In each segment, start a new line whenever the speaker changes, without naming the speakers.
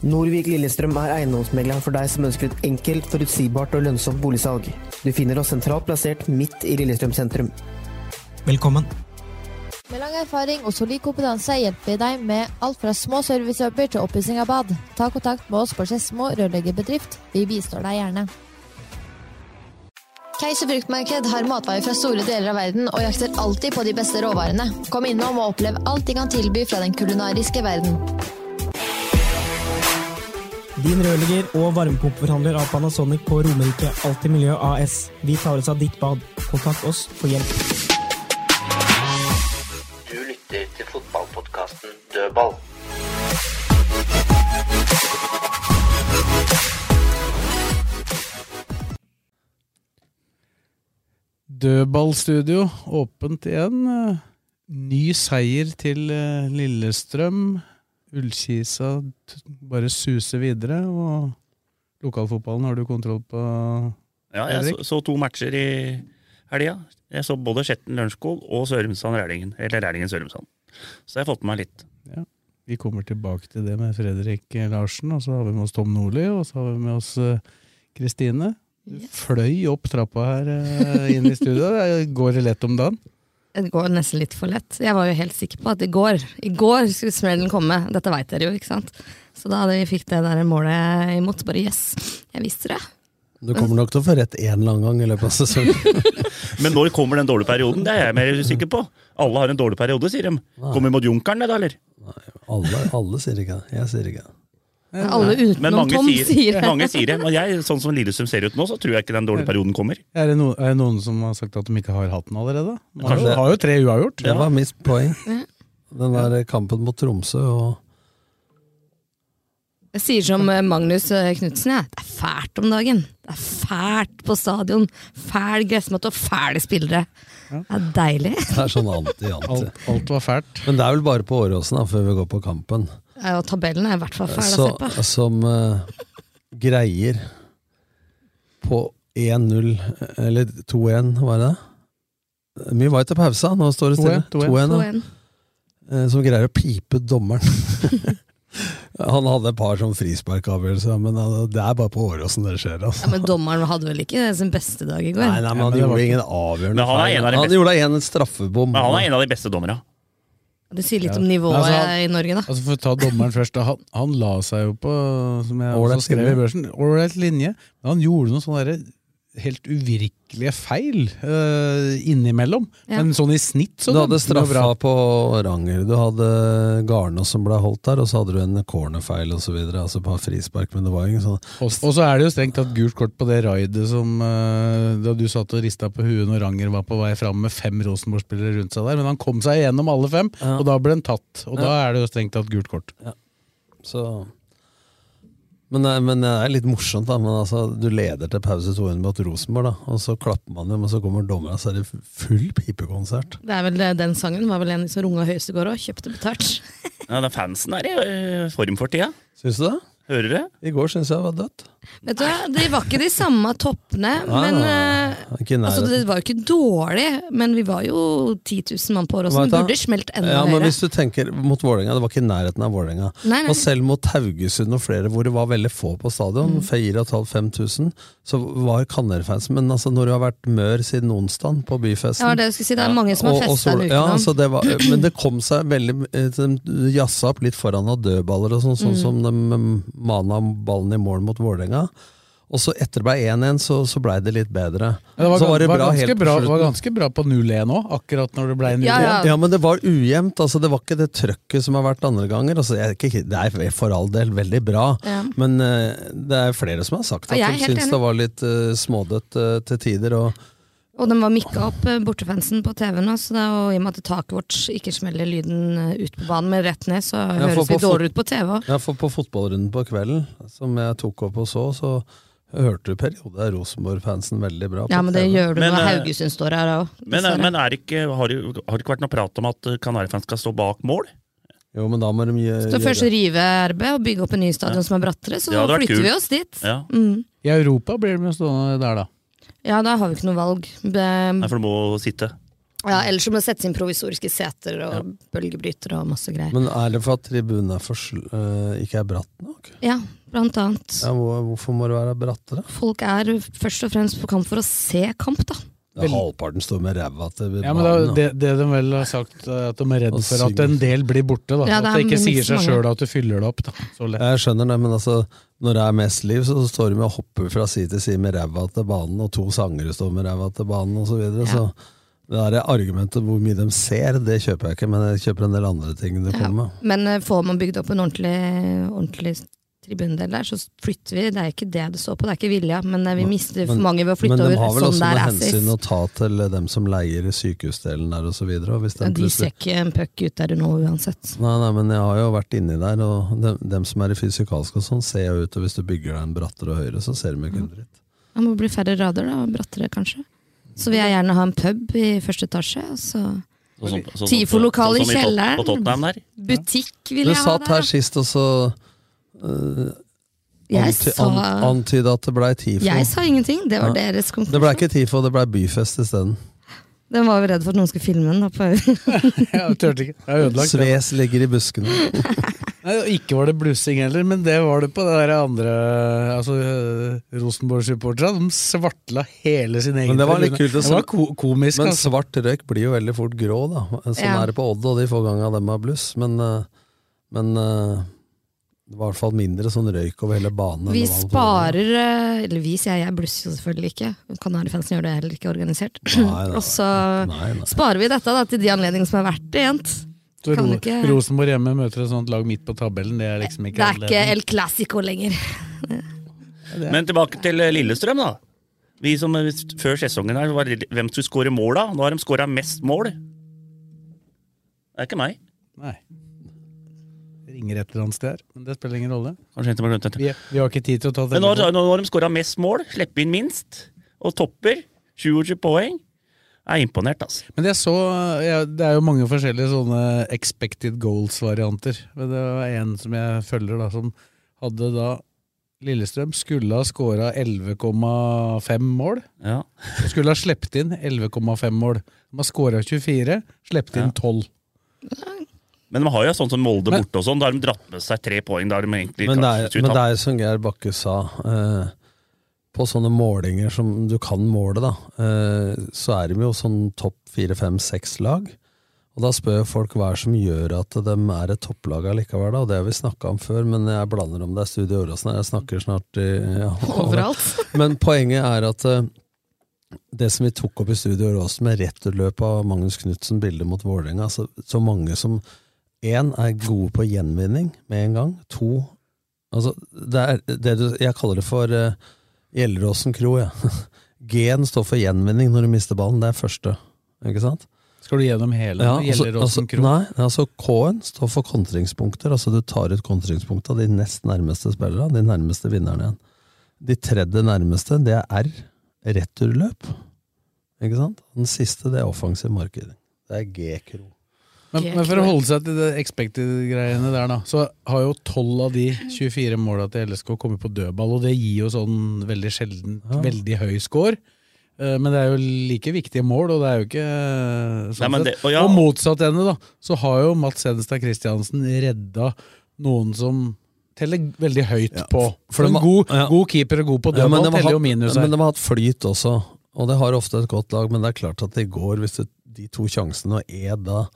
Norvik Lillestrøm er eiendomsmegleren for deg som ønsker et enkelt, forutsigbart og lønnsomt boligsalg. Du finner oss sentralt plassert midt i Lillestrøm sentrum.
Velkommen.
Med lang erfaring og solid kompetanse hjelper vi deg med alt fra små servicejobber til oppussing av bad. Ta kontakt med oss på Skedsmo rørleggerbedrift. Vi bistår deg gjerne. Keiser fruktmarked har matvarer fra store deler av verden og jakter alltid på de beste råvarene. Kom innom og opplev alt de kan tilby fra den kulinariske verden.
Din rørlegger og varmepumpeforhandler av Panasonic på Romerike Alltid Miljø AS. Vi tar oss av ditt bad. Kontakt oss for hjelp.
Du lytter til fotballpodkasten Dødball.
Dødballstudio åpent igjen. Eh, Ny seier til eh, Lillestrøm. Ullkisa t- bare suser videre, og lokalfotballen har du kontroll på.
Ja, jeg
Henrik?
så, så to matcher i helga. Jeg så både Skjetten Lørenskog og Sørumsand Rælingen. Eller Rælingen Sørumsand. Så jeg har fått med meg litt.
Vi kommer tilbake til det med Fredrik eh, Larsen, og så har vi med oss Tom Nordli, og så har vi med oss eh, Kristine. Du fløy opp trappa her eh, inn i studio. Det Går det lett om dagen?
Det går nesten litt for lett. Jeg var jo helt sikker på at i går, i går skulle smellen komme. Dette veit dere jo, ikke sant? Så da vi fikk det der målet imot, bare yes, jeg visste det.
Du kommer nok til å få rett én eller annen gang i løpet av sesongen.
Men når kommer den dårlige perioden? Det er jeg mer usikker på. Alle har en dårlig periode, sier de. Kommer mot Junkeren, det da, eller?
alle, sier ikke det. Jeg sier ikke det.
Alle
Men
utenom
mange
Tom
sier,
sier det.
mange sier det. Men jeg, sånn som Lillestrøm ser ut nå, så tror jeg ikke den dårlige perioden kommer.
Er det, no, er det noen som har sagt at de ikke har hatt den allerede? Man har
Kanskje.
jo- har jo tre uavgjort.
Det var mitt poeng. Den der kampen mot Tromsø og
Jeg sier som eh, Magnus Knutsen, jeg. Det er fælt om dagen. Det er fælt på stadion. Fæl gressmatte og fæle spillere. Det er deilig.
Det er sånn anti-anti.
Alt, alt var fælt.
Men det er vel bare på Åråsen, da, før vi går på kampen,
Ja, og tabellen er i hvert fall fæl å
så,
se på.
som eh, greier på 1-0, eller 2-1, var det det? Mye var det til pausa, nå står det stille.
2-1, 2-1.
2-1, ja.
2-1.
eh, som greier å pipe dommeren. Han hadde et par sånn frisparkavgjørelser, men eh, det er bare på Åråsen det skjer.
Ja,
Altså.
men dommeren hadde vel ikke sin beste dag i går?
Nei, nei, men han
det var
gjorde
ikke-
ingen avgjørende
Men han er en av de
Han
beste.
gjorde en straffebom.
Men han er en av de beste dommerne.
Det sier litt om nivået
Altså, han-
i Norge, da.
Altså For å ta dommeren først. da, Han, han la seg jo på, som jeg
Ålreit
også skrev
linje.
i børsen, ålreit linje. Men han gjorde noen sånne der helt uvirkelige feil eh, innimellom.
Ja.
Men sånn i snitt så
Du hadde
dømte han jo
straffa
bra.
på Ranger, du hadde Garnås som ble holdt der, og så hadde du en cornerfeil osv. Altså på frispark, men det var jo ingen sånn
Og, og så er det jo strengt tatt gult kort på det raidet som eh, Da du satt og rista på huet når Ranger var på vei fram med fem Rosenborg-spillere rundt seg der. Men han kom seg gjennom alle fem,
Ja.
og da ble han tatt. Og da er det jo strengt tatt gult kort.
Så men, det- men det er litt morsomt, da. Men altså, du leder til pause 200 mot Rosenborg, da. Og så klapper man dem, og så kommer dommerne, så er det full pipekonsert.
Det er vel eh, Den sangen var vel en som runga høyest i går òg. Kjøpte betalt.
Ja, den fansen er i øh, form for tida.
Syns du det?
Hører du?
I går syns jeg det var dødt.
Vet du, hva, Det var ikke de samme toppene, men eh,
Ikke i
altså,
nærheten.
Det var jo ikke dårlig, men vi var jo 10 000 mann på Åråsen.
Vet du hva?
Burde smelt enda
ja, men
høyere.
hvis du tenker mot Vålerenga, det var ikke i nærheten av Vålerenga.
Nei, nei.
Og selv mot Haugesund og flere hvor det var veldig få på stadion,
Mm.
4500-5000, så var Kanner-fansen Men altså, når du har vært mør siden onsdag
Ja, det
på
var
byfesten
det jeg skulle si. Det er mange som har
og- og
festa
så-
en uke
ja,
nå.
så det var, Men det kom seg veldig eh, De jazza opp litt foran av dødballer og sånn, sånn som de mm, mana ballen i mål mot Vålerenga. Og så etter det ble 1-1, så, så blei det litt bedre.
Ja, det var,
så var det
var,
bra
ganske
helt på
bra,
slutten.
var ganske bra på 0-1 òg, akkurat når det ble 0-1.
Ja, ja.
Ja, men det var ujevnt. Altså, det var ikke det trøkket som har vært andre ganger. Altså, jeg, er ikke- det er for all del veldig bra,
Ja.
men eh, det er flere som har sagt
Og
at
jeg er
de
helt
syns
enig.
det var litt eh, smådødt eh, til tider. Og,
Og den var mikka opp eh, bortefansen på TV nå, så det, er jo i og med at taket vårt ikke smeller lyden eh, ut på banen, men rett ned, så
Ja, for
høres vi
på fot-
dårligere ut på TV òg.
Ja, for på fotballrunden på kvelden, som jeg tok opp og så, så hørte du periode av Rosenborg-fansen veldig bra. på
Ja, men det
TV.
gjør du
Men,
når
eh,
Haugesund står her òg.
Men, men er ikke, har, det, har det ikke vært noe prat om at Kanarifans skal stå bak mål?
Jo, men da må de gjø-
Så først
gjøre
rive RB og bygge opp en ny stadion som er brattere, så
Det hadde vært
flytter
kult.
vi oss dit.
Ja.
Mm.
I Europa blir de jo stående der, da.
Ja, da har vi ikke noe valg.
Nei,
Det-
for du må sitte.
Ja, ellers så må det settes inn provisoriske seter og bølgebrytere og masse greier.
Men er det for at tribunen er for, sl- eh, ikke er bratt nok?
Ja, blant annet.
Ja, hvor- hvorfor må det være brattere?
Folk er først og fremst på kamp for å se kamp, da.
Ja, halvparten står med ræva til
Ja, men da, det, det de vel har sagt, eh, at de er redd
Og
for at
synger.
en del blir borte. da.
Ja, det
at det
er
ikke sier seg
mange.
sjøl at du fyller det opp. da. Så lett.
Jeg skjønner det, men altså, når det er mest liv, så står de med og hopper fra side til side med ræva til banen, og to sangere står med ræva til banen, og så videre.
Ja.
Så det der argumentet hvor mye de ser, det kjøper jeg ikke, men jeg kjøper en del andre ting det
Ja.
kommer med.
Men eh, får man bygd opp en ordentlig, ordentlig tribunedel der, så flytter vi. Det er ikke det det står på, det er ikke vilja, men eh, vi mister for mange ved å
Men
flytte
de
over.
har vel
Sånn
også
der
noe
assis.
hensyn å ta til dem som leier i sykehusdelen der og så videre. Og hvis de
Ja, de
plutselig-
ser ikke en puck ut der nå uansett.
Nei, nei, men jeg har jo vært inni der, og dem, dem som er i fysikalsk og sånn, ser jo ut, og hvis du bygger deg en brattere og høyere, så ser
Mm.
de ikke en dritt.
Det må bli færre rader da, og brattere kanskje. Så vil jeg gjerne ha en pub i første etasje. og Så.
Sånn som- sånn som-
Tifolokaler i
sånn som Tot-
kjelleren.
På Tottenham der.
Butikk vil
Du
jeg ha
satt her
der.
sist og så
Jeg
anty,
sa,
an, antyda at det blei TIFO.
jeg sa ingenting, det var
Ja.
deres
Det blei
konklusjon.
ikke TIFO, det blei byfest isteden.
Den var jo redd for at noen skulle filme den. Da, på,
Jeg turte ikke. Jeg har ødelagt det.
Sves ligger i buskene.
Nei, og ikke var det blussing heller, men det var det på det der andre altså, eh, Rosenborg-supporterne. De svartla hele sin egen
Men det var litt
tribune.
kult å
Det
se.
var ko komisk.
Men sånn-
altså.
svart røyk blir jo veldig fort grå, da. Sånn
Ja.
er det på Odd og de få gangene dem har bluss. Men, eh, men eh, det var i hvert fall mindre sånn røyk over hele banen. enn
vi
det var på Odd.
sparer eh, Eller vi, sier jeg. Jeg blusser jo selvfølgelig ikke. Kanarifansen gjør det heller ikke organisert.
Nei, nei,
Og så
Nei, nei.
sparer vi dette da, til de anledningene som er verdt det. Jent.
Så
kan
Ro
ikke-
Rosenborg hjemme møter et sånt lag midt på tabellen. Det er liksom
Det
ikke
er ikke
anledning.
El Clásico lenger.
Men tilbake til eh, Lillestrøm, da. Vi som eh, før sesongen her, var, hvem skulle skåre mål da? Nå har de skåra mest mål. Det er ikke meg.
Nei. Det ringer et eller annet sted her, men det spiller ingen rolle.
Kanskje jeg glemte det.
Vi, vi har ikke tid til å ta
Men nå,
telefonen.
har- nå har de skåra mest mål, slipper inn minst, og topper. 27 poeng. Jeg er imponert, altså.
Men jeg så, ja, det er jo mange forskjellige sånne expected goals-varianter. Men det var en som jeg følger, da, som hadde da Lillestrøm skulle ha skåra 11,5 mål.
Ja.
Og skulle ha sluppet inn 11,5 mål. De har skåra 24, sluppet
Ja.
inn 12.
Men de har jo sånn som Molde
Men-
borte og sånn. Da har de dratt med seg tre poeng. Da har de egentlig
Men det
kanskje
er, men det
tapt.
er jo som Geir Bakke sa, eh, på sånne målinger som du kan måle, da, eh, så er de jo sånn topp fire, fem, seks lag. Og da spør jo folk hva er det som gjør at de er et topplag allikevel, da. Og det har vi snakka om før, men jeg blander om det er Studio Åråsen her, jeg snakker snart i ja,
Overalt.
Men poenget er at eh, det som vi tok opp i Studio Åråsen med returløp av Magnus Knutsen, bildet mot Vålerenga, altså, så mange som én er gode på gjenvinning med en gang. To Altså, det er det du Jeg kaller det for uh, Gjelleråsen kro, jeg. G-en står for gjenvinning når du mister ballen. Det er første, ikke sant?
Skal du gjennom hele?
Ja,
Ja,
altså,
Gjelder
altså,
Åsen Krog?
nei, altså K-en står for kontringspunkter. Altså du tar ut kontringspunkta, de nest nærmeste spillerne, de nærmeste vinnerne igjen. De tredje nærmeste, det er R. Returløp. Ikke sant? Den siste, det er offensiv markering. Det er G-kro.
Men, men for å holde seg til det expected-greiene der, da, så har jo 12 av de 24 måla til LSK kommet på dødball, og det gir jo sånn veldig sjelden
Ja.
veldig høy score. Eh, Men det er jo like viktige mål, og det er jo ikke eh,
Nei,
sånn
men
sett.
det- og ja-
Og motsatt ende, da, så har jo Mats Hedenstad Christiansen redda noen som teller veldig høyt på.
for
For
de
en
har-
god,
ja.
god keeper og god på
Ja,
dødball
de har
teller jo
hatt-
minus
Men
her.
de har hatt flyt også, og det har ofte et godt lag, men det er klart at i går, hvis det, de to sjansene og er da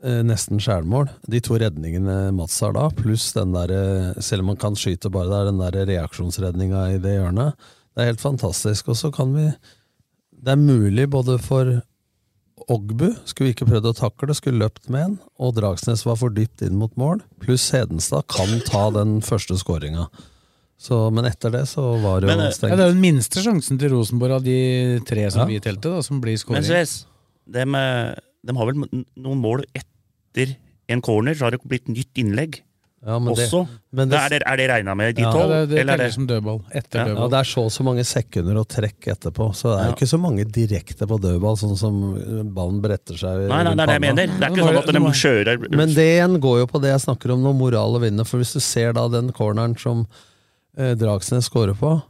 eh, nesten skjærmål, de to redningene Mats har da, pluss den der, eh, selv om man kan skyte bare der, den der reaksjonsredninga i det hjørnet, det er helt fantastisk, og så kan vi, det er mulig både for Ogbu skulle ikke prøvd å takle, skulle løpt med en, og Dragsnes var for dypt inn mot mål, pluss Hedenstad kan ta den første skåringa. Så, men etter det så var det jo
Men, eh,
stengt.
Ja, det er jo den minste sjansen til Rosenborg av de tre som
Ja.
vi telte, da, som blir
Men
skåring.
Sves, de, har vel n- noen mål etter en corner, så har det blitt nytt innlegg
men det-
også.
men det-
er, det, er det regna med de
Ja.
tolv?
Ja, det- det
eller er
teller som
dødball. Etter
Ja, det er så og så mange sekunder å trekke etterpå, så det er jo
Ja.
ikke så mange direkte på dødball, sånn som ballen bretter seg
Nei, nei,
rundt
nei, det jeg
panna.
mener. Det er ikke sånn at de kjører
Men det igjen går jo på det jeg snakker om når moral og vinner, for hvis du ser da den corneren som eh, Dragsnes scorer på,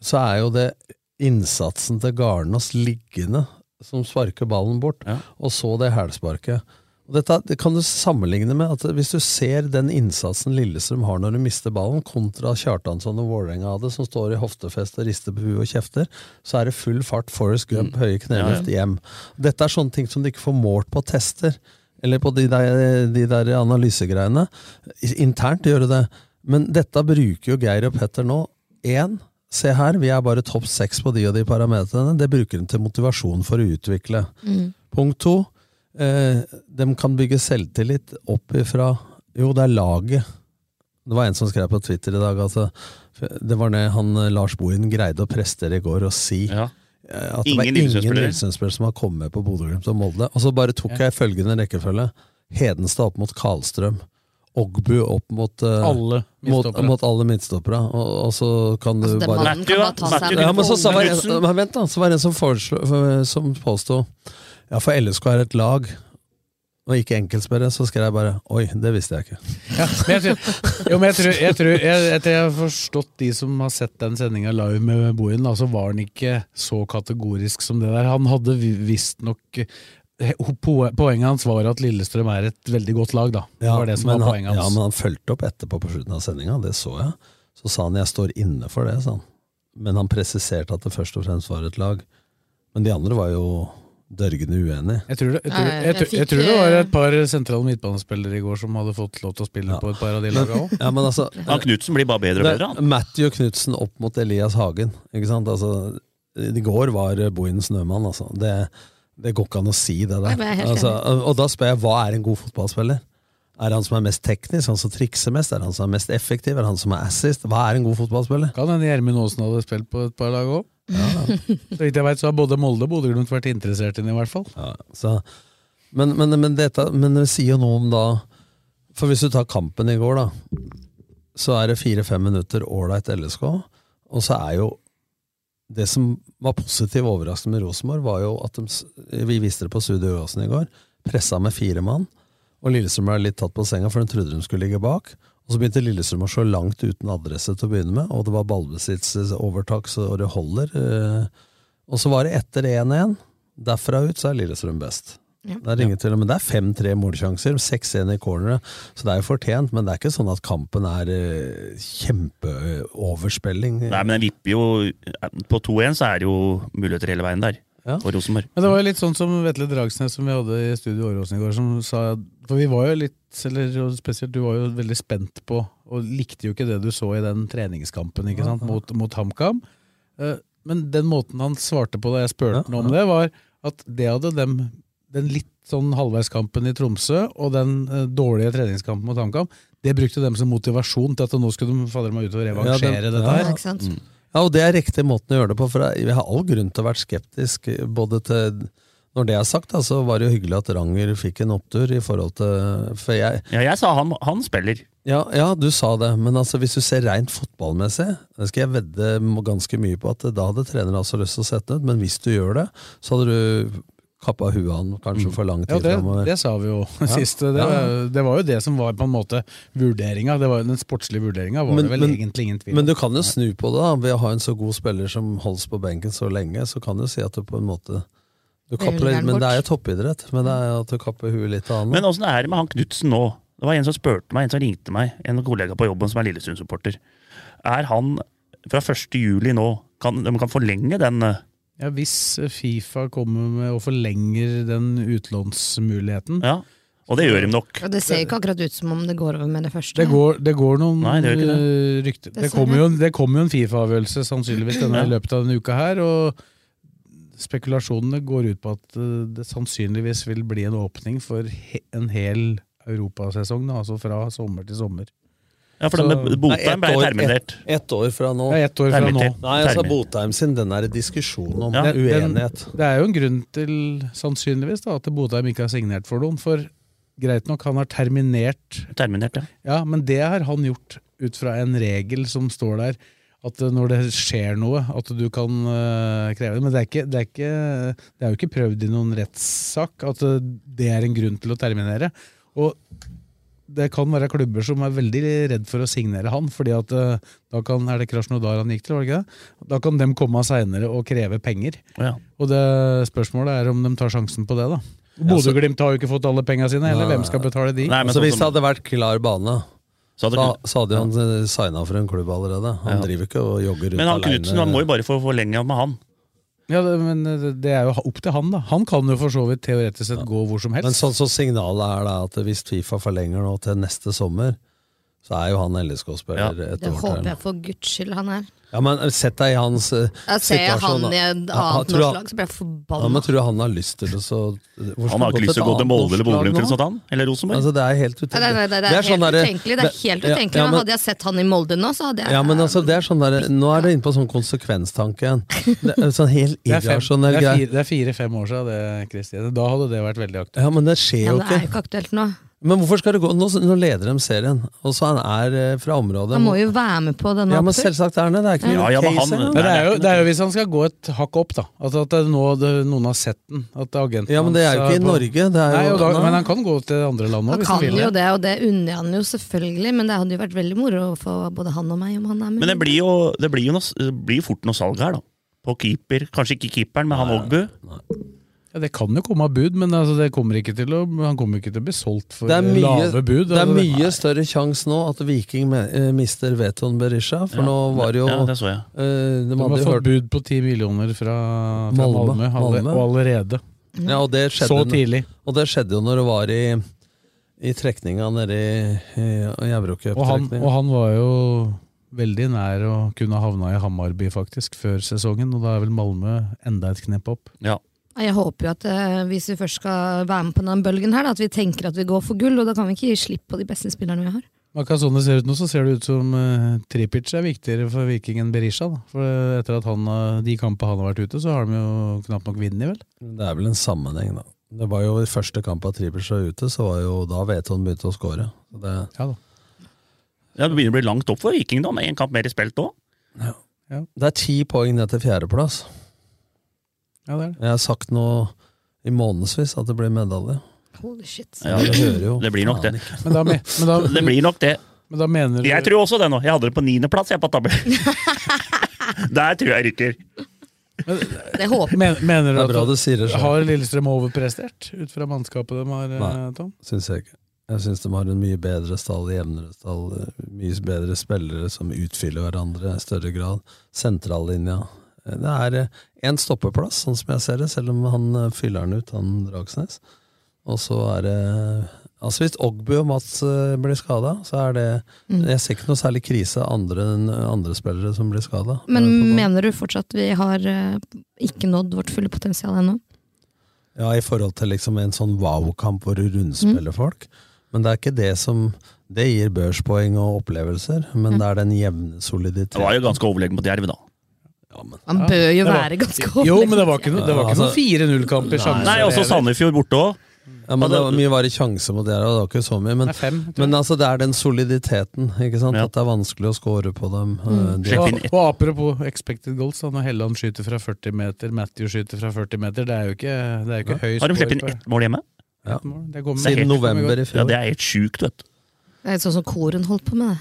så er jo det innsatsen til Garnås liggende som sparker ballen bort, og så det hælsparket. Og Dette det kan du sammenligne med at hvis du ser den innsatsen Lillestrøm har når du mister ballen, kontra Kjartansson og Vålerenga hadde, som står i hoftefest og rister på huet og kjefter, så er det full fart Forrest Gump, høye kneløft,
Mm. Ja, ja.
hjem. Dette er sånne ting som du ikke får målt på tester, eller på de der, de der analysegreiene. I- Internt gjør du det, men dette bruker jo Geir og Petter nå. Én, se her, vi er bare topp seks på de og de parametrene. Det bruker de til motivasjon for å utvikle.
Mm.
Punkt to, eh, de kan bygge selvtillit opp ifra Jo, det er laget. Det var en som skrev på Twitter i dag at altså, det var det han eh, Lars Bohin greide å prestere i går og si. eh, At det
Ingen
var ingen
Lillestrøm-spillere.
Lillestrøm-spillere som har kommet med på Bodø, Glimt og Molde. Og så bare tok jeg følgende rekkefølge. Hedenstad opp mot Karlstrøm. Ogbu opp mot eh,
Alle
mot,
midtstoppere.
mot alle midtstoppere. Og, og så kan du
Altså, den
bare
mannen kan bare ta seg Matthew, en-
ja, men så, så var, det-
Knudsen.
men Vent, da. Så var det en som, foreslo- for- som påsto ja, for LSK er et lag og ikke enkeltspillere, så skrev jeg bare oi, det visste jeg ikke.
Ja, men jeg tror, jo, men jeg tror, jeg tror jeg, Etter jeg har forstått de som har sett den sendinga live med Bohin, da, så var han ikke så kategorisk som det der. Han hadde visstnok eh, Poenget hans var at Lillestrøm er et veldig godt lag, da. Det var det som
men
var
han,
poenget
ja,
hans.
men han fulgte opp etterpå på slutten av sendinga, det så jeg. Så sa han jeg står inne for det, sa han. Men han presiserte at det først og fremst var et lag. Men de andre var jo dørgende uenige.
Jeg tror, det, jeg, tror,
Nei,
jeg,
jeg
tror, jeg
fikk,
tror det var
eh,
et par sentrale midtbanespillere i går som hadde fått lov til å spille på et par av de laga òg.
Ja, men altså,
Han Knutsen blir bare bedre og
Det-
bedre. han.
Matthew Knutsen opp mot Elias Hagen. Ikke sant? Altså, I går var Bohin Snømann, altså. Det, det går ikke an å si det der.
Nei, men jeg er helt
Altså, og da spør jeg hva er en god fotballspiller? Er det han som er mest teknisk, han som trikser mest, er det han som er mest effektiv, er det han som er assist? Hva er en god fotballspiller?
Kan hende Gjermund Aasen hadde spilt på et par lag òg. Så vidt jeg vet, så har både Molde og Bodø-Glimt vært interessert i den, i hvert fall.
Så, men, men, men, dette, men det sier jo noe om da For hvis du tar kampen i går, da, så er det fire-fem minutter ålreit LSK. Og så er jo Det som var positiv overraskende med Rosenborg, var jo at de, s- vi viste det på Studio Åsen i går. Pressa med fire mann. Og Lillestrøm ble litt tatt på senga, for de trodde de skulle ligge bak. Og så begynte Lillestrøm å slå langt uten adresse til å begynne med, og det var ballbesittelsesovertak så det holder. eh. Og så var det etter 1-1. Derfra ut så er Lillestrøm best.
Ja.
Det er ingen tvil om, men det er fem-tre målsjanser, 6-1 i corneret, så det er jo fortjent. Men det er ikke sånn at kampen er eh, kjempeoverspilling.
Nei, men den vipper jo eh, På 2-1 så er det jo muligheter hele veien der. For Rosenborg.
Men det var jo litt sånn som Vetle Dragsnes som vi hadde i studio i Åråsen i går, som sa For vi var jo litt, eller jo spesielt du var jo veldig spent på, og likte jo ikke det du så i den treningskampen ikke sant, mot, mot HamKam. Eh, Men den måten han svarte på da jeg spurte han om det, var at det hadde dem den litt sånn halvveiskampen i Tromsø og den eh, dårlige treningskampen mot HamKam, det brukte dem som motivasjon til at nå skulle de fader meg ut og revansjere
Ja, den-
det
ja.
der.
Ja, ikke sant?
Mm.
Ja, og det er riktig måten å gjøre det på, for jeg har all grunn til å være skeptisk. Både til Når det er sagt, da, så var det jo hyggelig at Ranger fikk en opptur i forhold til For jeg
Ja, jeg sa han, han spiller.
ja, ja, du sa det, men altså, hvis du ser rent fotballmessig, det skal jeg vedde m- ganske mye på at da hadde treneren altså lyst til å sette den ut, men hvis du gjør det, så hadde du kappa huet av han
Mm.
kanskje for lang
Ja,
tid
det,
fremover.
det sa vi jo
Ja.
sist. Det,
Ja.
var- det var jo det som var på en måte vurderinga. Det var, jo den sportslige vurderinga var det vel egentlig ingen tvil om.
Men du kan jo snu på det, da. Ved å ha en så god spiller som holdes på benken så lenge, så kan du si at du på en måte du
Det vil
kapper,
gjerne
Men
bort.
det er jo toppidrett. Men det er jo at du kapper huet litt av
Men altså,
annet.
åssen er det med han Knutsen nå? Det var en som spurte meg, en som ringte meg, en kollega på jobben som er Lillestrøm-supporter. Er han fra 1. juli nå kan, De kan forlenge den eh,
Ja, hvis Fifa kommer med og forlenger den utlånsmuligheten
Og det gjør de nok.
Og det ser jo ikke akkurat ut som om det går over med det første.
Det går, det går noen
Nei, det gjør ikke
øh, rykter. Det kommer jo, en- det kommer jo en Fifa-avgjørelse sannsynligvis denne, i
Ja.
løpet av denne uka her. og Spekulasjonene går ut på at øh, det sannsynligvis vil bli en åpning for he en hel europasesong, da, altså fra sommer til sommer.
Ja, for den med
Så-
Botheim
Nei, ett
ble
år-
terminert.
Ett, ett år fra nå.
Ja, ett år fra nå.
Terminert. Nei, altså
Terminert.
Botheim sin, den er det diskusjon om.
Den- den-
uenighet.
Det er jo en grunn til, sannsynligvis, da, at Bodheim ikke har signert for noen. For greit nok, han har terminert
Terminert, ja.
Ja, men det har han gjort ut fra en regel som står der. At eh, når det skjer noe, at du kan eh, kreve det. Men det er, ikke, det, er ikke, det er jo ikke prøvd i noen rettssak at eh, det er en grunn til å terminere. Og det kan være klubber som er veldig redd for å signere han, fordi at eh, da kan, er det Krasjnodar han gikk til, var det ikke det? Da kan dem komme seinere og kreve penger.
Ja.
Og det spørsmålet er om de tar sjansen på det, da. Bodø-Glimt har jo ikke fått alle penga sine, eller hvem skal betale de?
altså, hvis det hadde vært klar bane,
sånn så
hadde, så hadde han eh, signa for en klubb allerede. Han driver ikke og jogger rundt
Men han
alene.
Knutsen han må jo bare få forlenga med han.
Ja, det, men eh, det det er jo opp til han, da. Han kan jo for så vidt teoretisk sett gå hvor som helst.
Men sånn som signalet er da, at hvis Fifa forlenger nå til neste sommer, så er jo han LSK-spiller et
Det
år
håper
til.
jeg for guds skyld han er.
Ja, men sett deg i hans eh,
Jeg ser jeg han
situasjon, da.
i et
Ja, han-
annet
tror
norsk
han-
lag, så blir jeg
Ja, men
forbanna.
tror du han har lyst til å så- eh, Hvor skal
Han har ikke
et
lyst til å gå til
annet
Molde eller
norsk lag
Bodø Glimt
nå?
eller sånt, han? Eller Rosenborg?
Altså, det er helt utenkelig.
Nei, nei, nei, det, er
sånn
helt
derre-
utenkelig. Det er helt
Ja,
utenkelig.
ja,
men
men-
hadde jeg sett han i Molde nå, så hadde jeg
Ja, men altså, det er sånn der, Nå er det inne på sånn konsekvenstanke igjen. Det er Sånn helt
det er fem-
irrasjonell
det er
greie.
fire- det er fire-fem år siden, det, Kristine. Da hadde det vært veldig aktuelt.
Ja, men det skjer
Ja,
jo
men det er jo
ikke.
ikke aktuelt nå.
Men hvorfor skal det gå? Nå, nå leder de serien, og så han er eh, fra området.
Han må jo være med på denne
Ja, men
opptur.
selvsagt er han det. Det er ikke
Ja,
noe
ja, men
case
han-
engang.
Men det er, jo, det er jo hvis han skal gå et hakk opp, da. At, at det er nå det, noen har sett den. At agenten
Ja, men det er jo
hans
ikke i Norge, det er jo-
nei, og da,
nei.
Men han kan gå til andre land òg,
Han
hvis han
kan
vil.
jo
det.
det, og det unner jeg han jo selvfølgelig, men det hadde jo vært veldig moro for både han og meg om han er med.
Men det blir jo, det blir jo noe, det blir jo fort noe salg her, da. På keeper. Kanskje ikke keeperen, men han Ogbu.
Ja, det kan jo komme av bud, men altså, det kommer ikke til å, han kommer ikke til å bli solgt for
Det er mye,
lave bud.
det er
altså,
mye større sjanse nå at Viking me- eh, mister Veton Berisha, for
Ja,
nå var det jo
ja, det så
jeg.
eh,
De
de hadde
har
jo
fått
hørt
bud på ti millioner fra, fra
Malmö.
Malmö, alle-
Malmö.
og allerede.
ja, og det skjedde,
Så tidlig.
Og det skjedde jo når det var i, i trekninga nede i, i
Og han,
Eurocup-trekninga.
og han var jo veldig nær å kunne havna i Hammarby faktisk før sesongen, og da er vel Malmö enda et knep opp.
Ja.
Nei, Jeg håper jo at eh, hvis vi først skal være med på denne bølgen her, da, at vi tenker at vi går for gull, og da kan vi ikke gi slipp på de beste spillerne vi har.
Akkurat sånn det ser ut nå, så ser det ut som eh, Tripic er viktigere for Viking enn Berisha. Da. For eh, etter at han, har- de kampene han har vært ute, så har de jo knapt nok vunnet, vel?
Det er vel en sammenheng, da. Det var jo i første kamp av Trippers var ute, så var jo da Veton begynte å score. Så Det,
Ja, det begynner å bli langt opp for Viking, da, med én kamp mer i spilt òg.
det er ti poeng ned til fjerdeplass.
Ja, det er
Jeg har sagt nå i månedsvis at det blir medalje.
Holy shit.
Ja,
det hører jo
det blir nok det.
faen ikke.
Men da, me- men da,
Det blir nok det.
men da mener du
Jeg tror også det nå. Jeg hadde det på niendeplass, jeg, på tabellen. Der tror jeg rykker.
Det håper
men, Mener
Det
du
sånn. er
at
bra du sier det selv.
har Lillestrøm overprestert ut fra mannskapet de har, eh,
Nei.
Tom?
Syns jeg ikke. Jeg syns de har en mye bedre stall, jevnere stall, mye bedre spillere som utfyller hverandre i større grad. Sentrallinja. Det er én stoppeplass, sånn som jeg ser det, selv om han eh, fyller den ut, han Dragsnes. Og så er det Altså Hvis Ogbu og Mats eh, blir skada, så er det Jeg ser ikke noe særlig krise andre enn andre spillere som blir Eh, skada.
Men mener du fortsatt vi har eh, ikke nådd vårt fulle potensial ennå?
Ja, i forhold til liksom en sånn wow-kamp hvor du rundspiller folk. Men det er ikke det som Det gir børspoeng og opplevelser, men det er den jevne
Det var
soliditeten.
jo ganske overlegen mot Jerv, da.
Han
Ja,
bør jo
det var-
være ganske
Jo, men det var ikke, noe- det var
Ja,
ikke noen
altså-
4-0-kamper. sjanser
Nei, også
heller.
Sandefjord borte òg.
Ja, men det var mye var i sjanse mot dere, og det var ikke så mye. Men,
Nei, fem, tror jeg.
men altså, det er den soliditeten, ikke sant? At det er vanskelig å score på dem. Eh, de-
Og, og apropos expected goals, da, når Helland skyter fra 40 meter, Matthew skyter fra 40 meter, det er jo ikke, det er jo ikke høy
Har de
score
sluppet inn
på-
ett mål hjemme?
Ja.
Det kommer-
Det er
Siden
helt-
november i
Ja,
fjor.
det er helt sjukt, vet du.
Det er litt sånn som Koren holdt på med.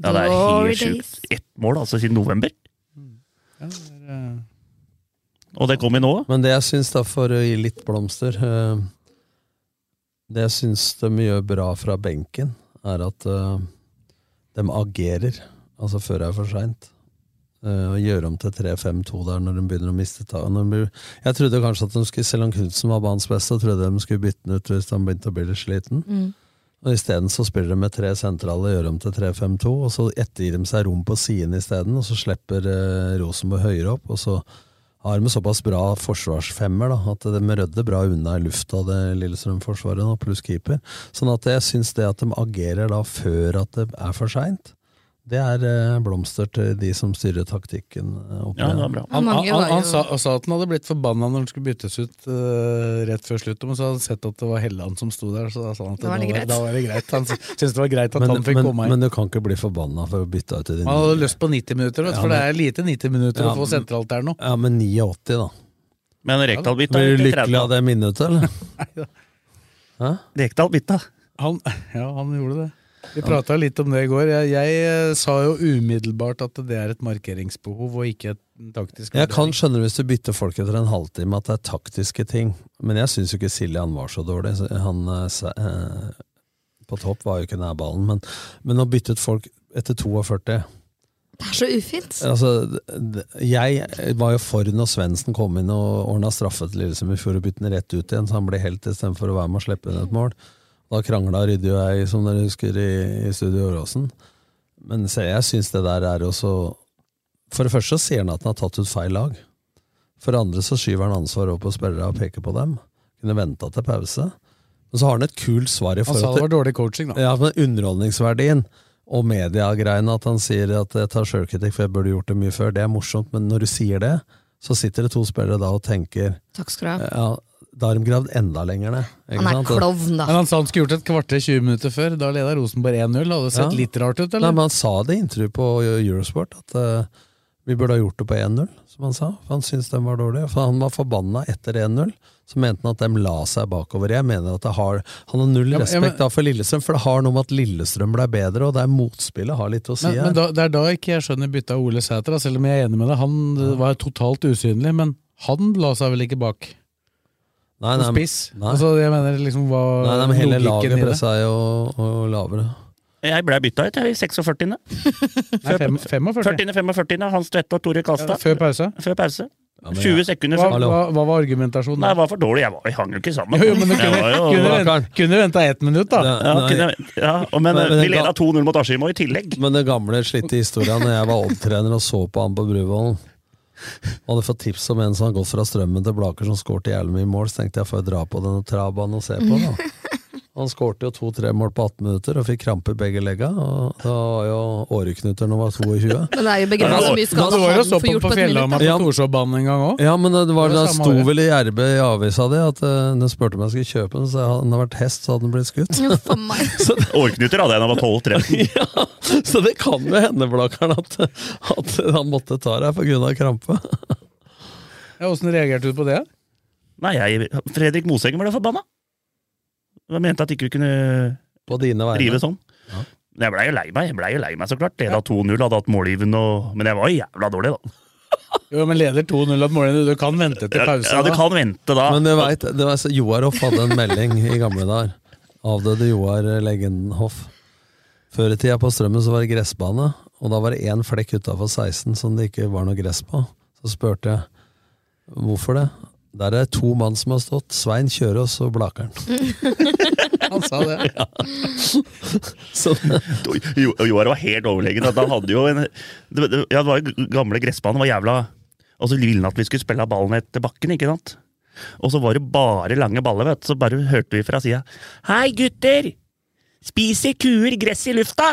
det.
Ja, det er
Glory
helt
days.
sjukt. Ett mål, altså, siden november.
Ja, det er, eh,
Og det kom inn nå.
Men det jeg syns, da, for å gi litt blomster eh, Det jeg syns de gjør bra fra benken, er at eh, de agerer. Altså før det er for seint. Og gjøre om til 3-5-2 der når de begynner å miste tak. Når de blir- Jeg trodde kanskje at de skulle, Selv om Knutsen var banens beste, trodde jeg de skulle bytte den ut hvis han begynte å bli litt sliten.
Mm.
Og Isteden så spiller de med tre sentrale, gjør om til 3-5-2, og så ettergir de seg rom på siden isteden, og så slipper eh, Rosenborg høyere opp, og så har med såpass bra forsvarsfemmer da, at de rødde bra unna i lufta, det Lillestrøm-forsvaret, da, pluss keeper. Sånn at jeg syns det at de agerer da før at det er for seint, det er eh, blomster til de som styrer taktikken. eh, opp
Ja, det
igjen.
var bra. Han, han, han, han sa, han sa at han hadde blitt forbanna når han skulle byttes ut eh, rett før slutt, men så hadde han sett at det var Helland som sto der, så da sa han at
Da var det greit.
da var det greit. Han syntes det var greit at
men,
han fikk
men,
komme inn.
men du kan ikke bli forbanna for å bytte ut i din
Han hadde lyst på 90 minutter, vet, du,
Ja,
for det
men-
er lite 90 minutter
Ja,
å få sentralt der nå.
Ja, men 89, da.
Men Rekdal bytta
Blir du
ut i 30.
lykkelig av det minuttet, eller? Hæ?
Rekdal bytta.
Han, ja, han gjorde det. Vi
Ja.
prata litt om det i går. Jeg, jeg eh, sa jo umiddelbart at det er et markeringsbehov og ikke et taktisk
Jeg kan skjønne hvis du bytter folk etter en halvtime at det er taktiske ting, men jeg syns jo ikke Siljan var så dårlig. Så Han eh, sa- eh, på topp var jo ikke nær ballen, men, men å bytte ut folk etter 42
Det er så ufint.
altså, d- d- Jeg var jo for når Svendsen kom inn og ordna straffe til Lillesund i fjor og bytte den rett ut igjen, så han ble helt istedenfor å være med og slippe inn et mål. Da krangla Rydde og jeg, som dere husker, i, i Studio Åråsen. Men se, jeg syns det der er jo så For det første så sier han at han har tatt ut feil lag. For det andre så skyver han ansvaret over på spillere og peker på dem. Kunne venta til pause. Men så har han et kult svar i
Han sa det var dårlig coaching, da.
Ja, men underholdningsverdien og mediegreiene, at han sier at jeg tar sjølkritikk, for jeg burde gjort det mye før, det er morsomt, men når du sier det, så sitter det to spillere da og tenker
Takk skal du ha.
ja, Da har de gravd enda lenger ned. ikke
Han er
sant?
klovn, da.
Men han sa han skulle gjort et kvarter 20 minutter før. Da leda Rosenborg 1-0. Hadde det sett
Ja.
litt rart ut,
Nei,
eller?
men Han sa det i intervju på Eurosport, at eh, vi burde ha gjort det på 1-0, som han sa. For han syntes den var dårlig. For han var forbanna etter 1-0. Så mente han at de la seg bakover. Jeg mener at det har, Han har null
Ja, men- ja,
respekt
men-
da for Lillestrøm, for det har noe med at Lillestrøm ble bedre, og der motspillet har litt å si.
men,
her.
men da, det er da ikke jeg skjønner byttet av Ole Sæter, da, selv om jeg er enig med deg. Han eh, var totalt usynlig, men han la seg vel ikke bak?
Nei,
Som
nei,
spiss?
nei.
Altså, jeg mener liksom hva
Nei, nei, men hele
logikken i
laget
det?
pressa jo og lavere.
Jeg ble bytta ut jeg, i 46.
Nei, fem- 45.
40. 45. Hans Tvedte og Tore Kalstad.
Før pause?
Før pause.
men jeg-
20 sekunder
Hva,
før.
hva, hva var argumentasjonen?
Nei, jeg var for dårlig. Jeg, var, jeg hang jo ikke sammen.
Jo, jo, men du
Jeg
kunne,
var jo-
kunne, vent- kunne venta ett minutt, da.
Ja, kunne, ja og men, eh,
Men- men
vi
den
leda
ga-
2-0 mot Askim i tillegg.
Men den gamle slitte historien når jeg var opptrener og så på han på Bruvollen og hadde fått tips om en som hadde gått fra strømmen til Blaker som skårte jævlig mye mål, så tenkte jeg får jeg dra på den og trabanen og se på, da. Han skårte jo to-tre mål på 18 minutter og fikk krampe i begge legga. Og da var jo åreknuter når han var 22.
Men det er jo begrenset hvor mye skade
Du var jo
han
så
får
på,
gjort
på
på et minutt.
Fjellhamar
da.
på Torshovbanen en gang òg.
Ja, men det var
Det var
det
samme
sto
året.
vel i Gjerbe i avisa di at eh, den spurte om jeg skulle kjøpe den, så hadde den vært hest, så hadde den blitt skutt.
Årknuter hadde jeg da jeg var 12-13.
Så det kan jo hende, Blakkaren, at, at han måtte ta deg pga. krampe.
Åssen reagerte du på det?
Nei, jeg, Fredrik Moseng ble forbanna. Jeg mente at ikke vi kunne
På dine vegne.
drive sånn.
Ja.
Men jeg blei jo lei meg, jeg ble jo lei meg så klart. Leda 2-0, hadde hatt målgivende og Men jeg var jo jævla dårlig, da.
Jo, men leder 2-0 av målene, du kan vente til pause.
Ja, du
da.
kan vente da.
Men du vet, det var, så- Joar Hoff hadde en melding i gamle dager. Avdøde Joar eh, legenden Hoff. Før i tida på Strømmen så var det gressbane, og da var det én flekk utafor 16 som det ikke var noe gress på. Så spurte jeg hvorfor det. Der er det to mann som har stått. Svein Kjørås og Blakeren.
Han sa det.
Så
Jo- Joar var helt overlegen. at Han hadde jo en det, det, ja, det var jo gamle gressbanen. var jævla Og så ville han at vi skulle spille av ballen etter bakken, ikke sant? Og så var det bare lange baller, vet du. Så bare hørte vi fra sida Hei, gutter! Spiser kuer gress i lufta?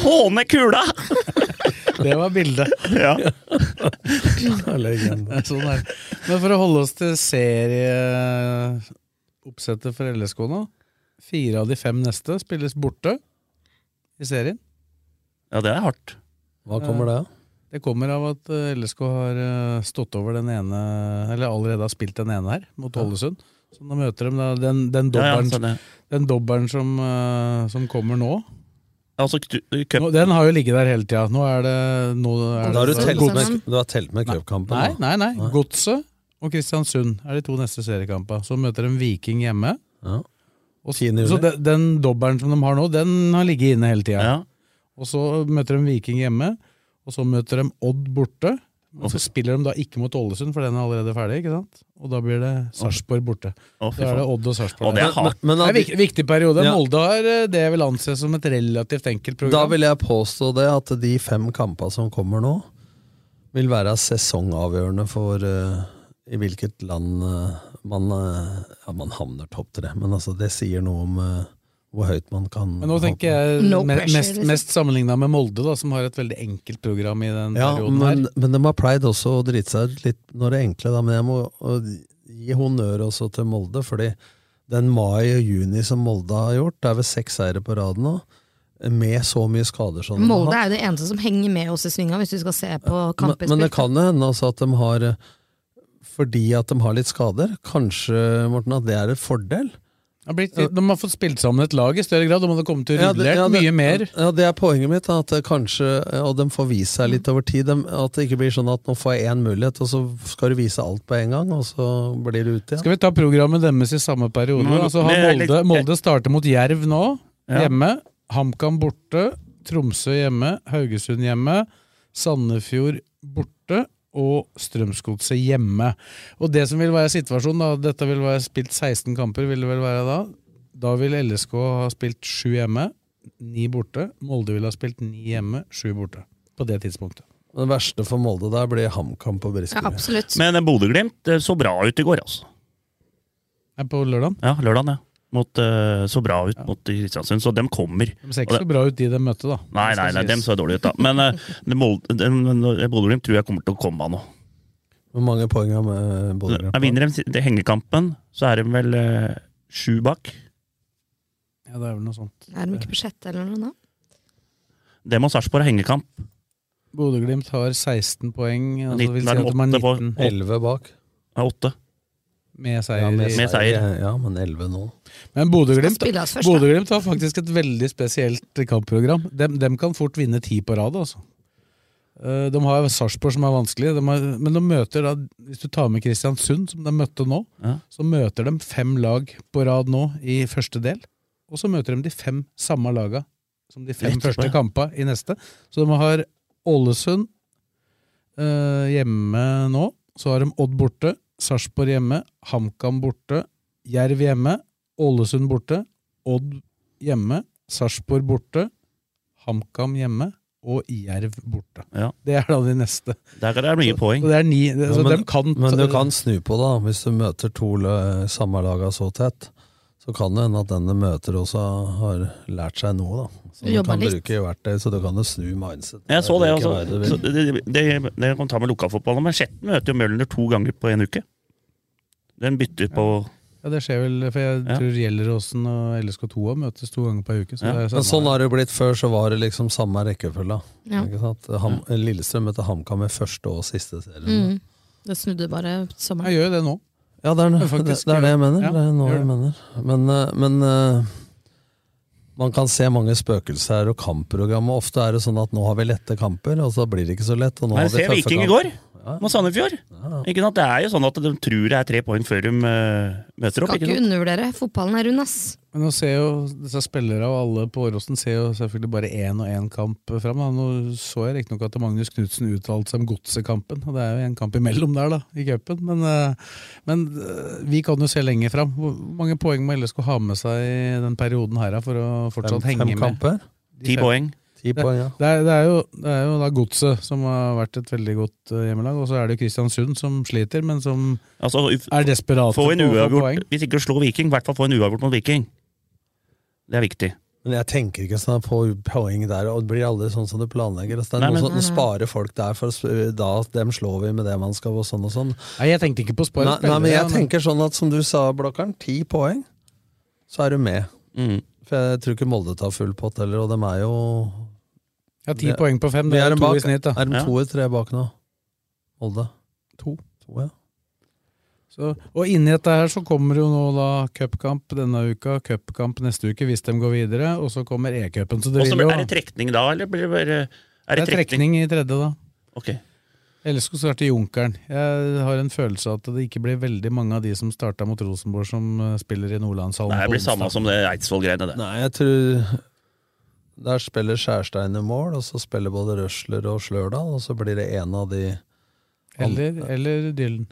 Få ned kula!
Det var bildet.
Ja.
legende.
Sånn er det. Men for å holde oss til serieoppsettet for LSK nå. Fire av de fem neste spilles borte i serien.
ja, det er hardt.
Hva kommer det av?
Det kommer av at eh, LSK har eh, stått over den ene Eller allerede har spilt den ene her, mot Ålesund. Så nå møter de da den, den
Ja, ja,
dobbelen
sånn, ja.
Den dobbelen som, eh, som kommer nå,
Altså, ktu- cup-
nå Den har jo ligget der hele tida. Nå er det, nå er
Da har du
det
telt
Gods-
med, du har telt med cupkampen?
Nei,
da.
nei, nei. Godset og Kristiansund er de to neste seriekampene. Så møter de Viking hjemme.
Ja.
Og
10.
så,
juli.
så den, den dobbelen som de har nå, den har ligget inne hele tida.
ja.
Og så møter de Viking hjemme, og så møter de Odd borte. Og så spiller de da ikke mot Ålesund, for den er allerede ferdig. ikke sant? Og da blir det Sarpsborg borte.
Å, fy
Da er det
faen.
Odd og Sarpsborg.
Og det er hardt.
Men
Det er en
at,
viktig, viktig periode.
Ja.
Molde har eh, det jeg vil anse som et relativt enkelt
da
program.
vil jeg påstå det at de fem kampene som kommer nå, vil være sesongavgjørende for eh, i hvilket land eh, man, eh, ja, man havner topp tre. Men altså, det sier noe om eh, hvor høyt man kan
Men nå tenker jeg
No
me-
pressure,
mest,
liksom.
mest sammenligna med Molde, da, som har et veldig enkelt program i den
ja,
perioden
men,
her.
men de har pleid også å drite seg ut litt når det er enkle, da. Men jeg må øh, gi honnør også til Molde, fordi den mai og juni som Molde har gjort, det er vel seks seire på rad nå, med så mye skader som de har
Molde
hatt.
er jo det eneste som henger med oss i svinga, hvis du skal se på
Men,
kamper.
men det kan jo hende altså at de har eh, Fordi at de har litt skader, kanskje Morten, at det er et fordel?
Det har blitt litt- De har fått spilt sammen et lag i større grad, de hadde kommet til
Ja, det-
rullert
ja, det-
mye mer.
Ja, Det er poenget mitt, da, at det kanskje, eh, og de får vise seg litt over tid. dem- at det ikke blir sånn at nå får jeg én mulighet, og så skal du vise alt på en gang, og så blir du ute igjen.
Skal vi ta programmet deres i samme periode?
Nå-
altså, har
men-
Molde, Molde starter mot Jerv nå,
Ja.
hjemme. HamKam borte. Tromsø hjemme. Haugesund hjemme. Sandefjord borte. Og Strømsgodset hjemme. Og det som vil være situasjonen, da, dette vil være spilt 16 kamper, vil det vel være da. Da vil LSK ha spilt sju hjemme, ni borte. Molde vil ha spilt ni hjemme, sju borte. På det tidspunktet.
Det verste for Molde der blir HamKam på Briskeby.
Ja, absolutt.
Men eh, Bodø-Glimt eh, så bra ut i går, altså.
Nei, På lørdag.
Ja, lørdagen, ja. Mot, eh, så bra ut mot Kristiansund, så dem kommer.
De ser
Og
ikke
det-
så bra ut, de de møtte, da.
Nei, nei, nei, dem så dårlig ut, da. Men eh, det Molde- den- den- Bodø-Glimt tror jeg kommer til å komme av nå.
Hvor mange poeng har eh, med Bodø?
Jeg vinner dem si- det hengekampen, så er de vel eh, sju bak.
Ja, det er vel noe sånt.
Er de ikke på sjette eller noe nå?
Dem og Sarpsborg har hengekamp.
Bodø-Glimt har 16 poeng. Altså
19,
vil si
da
at
er de
de har 19
åtte på-
Elleve bak.
Ja, åtte.
med seier.
Ja,
i-
med seier. Ja, men elleve nå.
Men
Skal spille
Bodø-Glimt
oss først, da.
Bodø har faktisk et veldig spesielt kampprogram. Dem, dem kan fort vinne ti på rad, altså. Eh, De har Sarpsborg, som er vanskelig, de har, men de møter da, hvis du tar med Kristiansund, som de møtte nå,
Ja.
så møter de fem lag på rad nå i første del. Og så møter de de fem samme laga som de fem
Etterpå,
første
ja.
kampene i neste. Så de har Ålesund eh, hjemme nå. Så har de Odd borte, Sarpsborg hjemme, HamKam borte, Jerv hjemme, Ålesund borte, Odd hjemme, Sarpsborg borte, HamKam hjemme og Jerv borte.
Ja.
Det er da de neste.
Der er det mye poeng.
Så det er ni, det, så
Ja, men,
dem kan
men du kan snu på det, da. hvis du møter to lø- samme laga så tett. Så kan det hende at den du møter også har lært seg noe, da. Så du
Jobba
kan
litt.
bruke i verktøy, så du kan jo snu mindset.
Jeg så det,
Hvilken
altså.
vei du vil.
Så det, det, det kan ta med lokalfotballen, men Skjetten møter jo Møllender to ganger på en uke. Den bytter på
Ja, det skjer vel, for jeg
Ja.
tror Gjelleråsen og LSK2 også møtes to ganger per uke. Så
Ja.
det er
Men
samme-
sånn har det blitt før, så var det liksom samme rekkefølge.
Ja.
Ikke sant? Ham, Lillestrøm møtte HamKam i første og siste serien.
Mm. Det snudde bare sommeren.
Jeg gjør jo det nå.
Ja, det er det,
Men faktisk-
det, er det jeg mener.
Ja,
det er nå
gjør
jeg mener. Men, eh, men eh, man kan se mange spøkelser her, og kampprogrammet ofte er det sånn at nå har vi lette kamper, og så blir det ikke så lett. Og nå
Nei,
har vi
se
tøffe
Viking i
kamper.
går, mot Sandefjord! Ikke sant? Det er jo sånn at de tror det er tre poeng før de eh, møter opp.
Kan
Ikke
ikke
sant?
undervurdere. Fotballen er rund, ass.
Men nå ser jo disse spillere og alle på Åråsen ser jo selvfølgelig bare én og én kamp fram. Da. Nå så jeg riktignok at Magnus Knutsen uttalte seg om godsekampen, og det er jo en kamp imellom der, da, i cupen. Men, eh, men eh, vi kan jo se lenger fram. Hvor mange poeng må LSK ha med seg i den perioden her da, for å fortsatt
Fem, fem
henge med?
kamper.
Ti poeng.
Ti poeng, ja.
Det er, det, er jo, det er jo da Godset som har vært et veldig godt eh, hjemmelag, og så er det jo Kristiansund som sliter, men som
Altså, f-
er desperate
få en
på å få
uavgjort.
poeng.
Hvis ikke du slår Viking, i hvert fall få en uavgjort mot Viking. Det er viktig.
Men jeg tenker ikke sånn på poeng der, og det blir aldri sånn som du planlegger. Altså, det er
Nei, men-
noe sånn, nå sparer folk der, for å sp- da dem slår vi med det man skal, og sånn og sånn.
Nei, jeg tenkte ikke på å spare
Nei, nei, men jeg
spillere,
tenker sånn at som du sa, Blokkeren, ti poeng, så er du med.
Mm.
For jeg tror ikke Molde tar full pott heller, og dem er jo
Ja, ti
Det-
poeng på fem,
Men
det
er
er
de
to
bak-
i snitt. da.
Er de
Ja.
to eller tre bak nå? Molde?
To.
To, ja.
Så, og inni dette her så kommer jo nå da cupkamp denne uka, cupkamp neste uke hvis de går videre, og så kommer E-cupen. Så det
Og så
vil jo
er det trekning da, eller blir det bare Er
det
det
er
trekning?
trekning i tredje, da.
Ok.
Ellers skulle starte Junkeren. Jeg har en følelse av at det ikke blir veldig mange av de som starta mot Rosenborg, som eh, spiller i Nordlandshallen.
Nei, det
på
blir samme
onsdag.
som det Eidsvoll-greiene, det.
Nei, jeg tror Der spiller Skjærstein i mål, og så spiller både Røsler og Slørdal, og så blir det en av de
Eller, eller Dylan.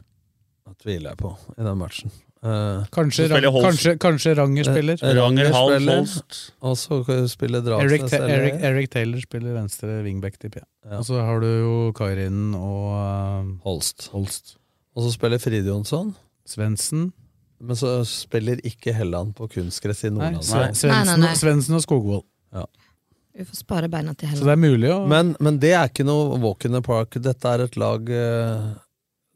Det tviler jeg på i den matchen. Eh,
Kanskje Som spiller Rang- Holst. kanskje- kanskje Ranger spiller.
Eh,
Ranger, Hall,
spiller,
Holst.
Og så spiller Dragsnes.
Eric, Ta
eller-
Eric, Eric Taylor spiller venstre wingback, tipper jeg. Og så har du jo Kairinen og eh,
Holst.
Holst.
Og så spiller Fride Jonsson.
Svendsen.
Men så spiller ikke Helland på kunstgress i
Nei,
Nordland.
Sve- Svendsen,
nei.
Svendsen og Skogvold.
Vi får spare beina til
Så det
helga.
er mulig å
Men, men det er ikke noe walk in the park. Dette er et lag eh,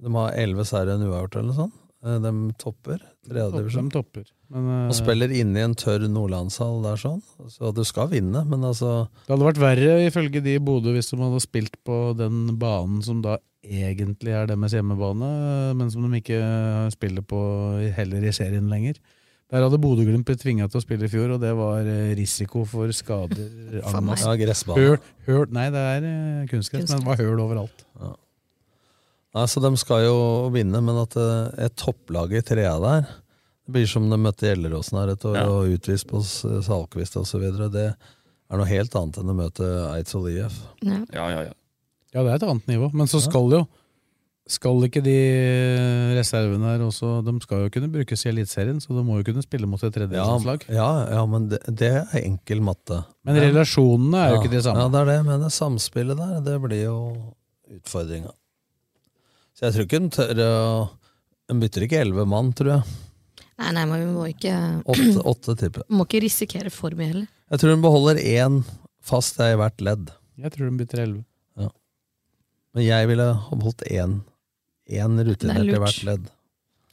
De har elleve seire og en uavgjort eller noe sånt. Eh, De topper
De
tredjedivisjon.
topper. Men, eh,
Og spiller inne i en tørr nordlandshall der sånn. Så du skal vinne, men altså
det hadde vært verre ifølge de i Bodø hvis de hadde spilt på den banen som da egentlig er deres hjemmebane, men som de ikke spiller på heller i serien lenger. Der hadde Bodø-Glimt blitt tvinga til å spille i fjor, og det var eh, risiko for skader.
For meg.
Agnes.
Ja, gressbane.
Høl, høl, nei, det er eh, kunstgress, men det var høl overalt.
Nei, så de skal jo vinne, men at eh, et topplag i trea der Det blir som de møtte Gjelleråsen her et år,
Ja.
og utvist på S- Salkvist osv. Det er noe helt annet enn å møte Eidsvoll IF.
Ja.
Ja, ja, ja.
Ja, det er et annet nivå, men så skal jo Skal ikke de reservene her også De skal jo kunne brukes i Eliteserien, så de må jo kunne spille mot et
Ja,
tredjedelslandslag.
ja, ja, men det, det er enkel matte.
Men relasjonene er jo ikke de
Ja,
samme.
det er det, men det samspillet der, det blir jo utfordringa. Så jeg tror ikke den tør å Den bytter ikke elleve mann, tror jeg.
Nei, nei, men vi må ikke,
Åtte, åtte tipper jeg.
må ikke risikere for mye heller.
Jeg tror hun beholder én fast i hvert ledd.
Jeg tror de bytter elleve.
Men jeg ville ha beholdt én. Én rutinert
Det
i
er lurt.
hvert ledd.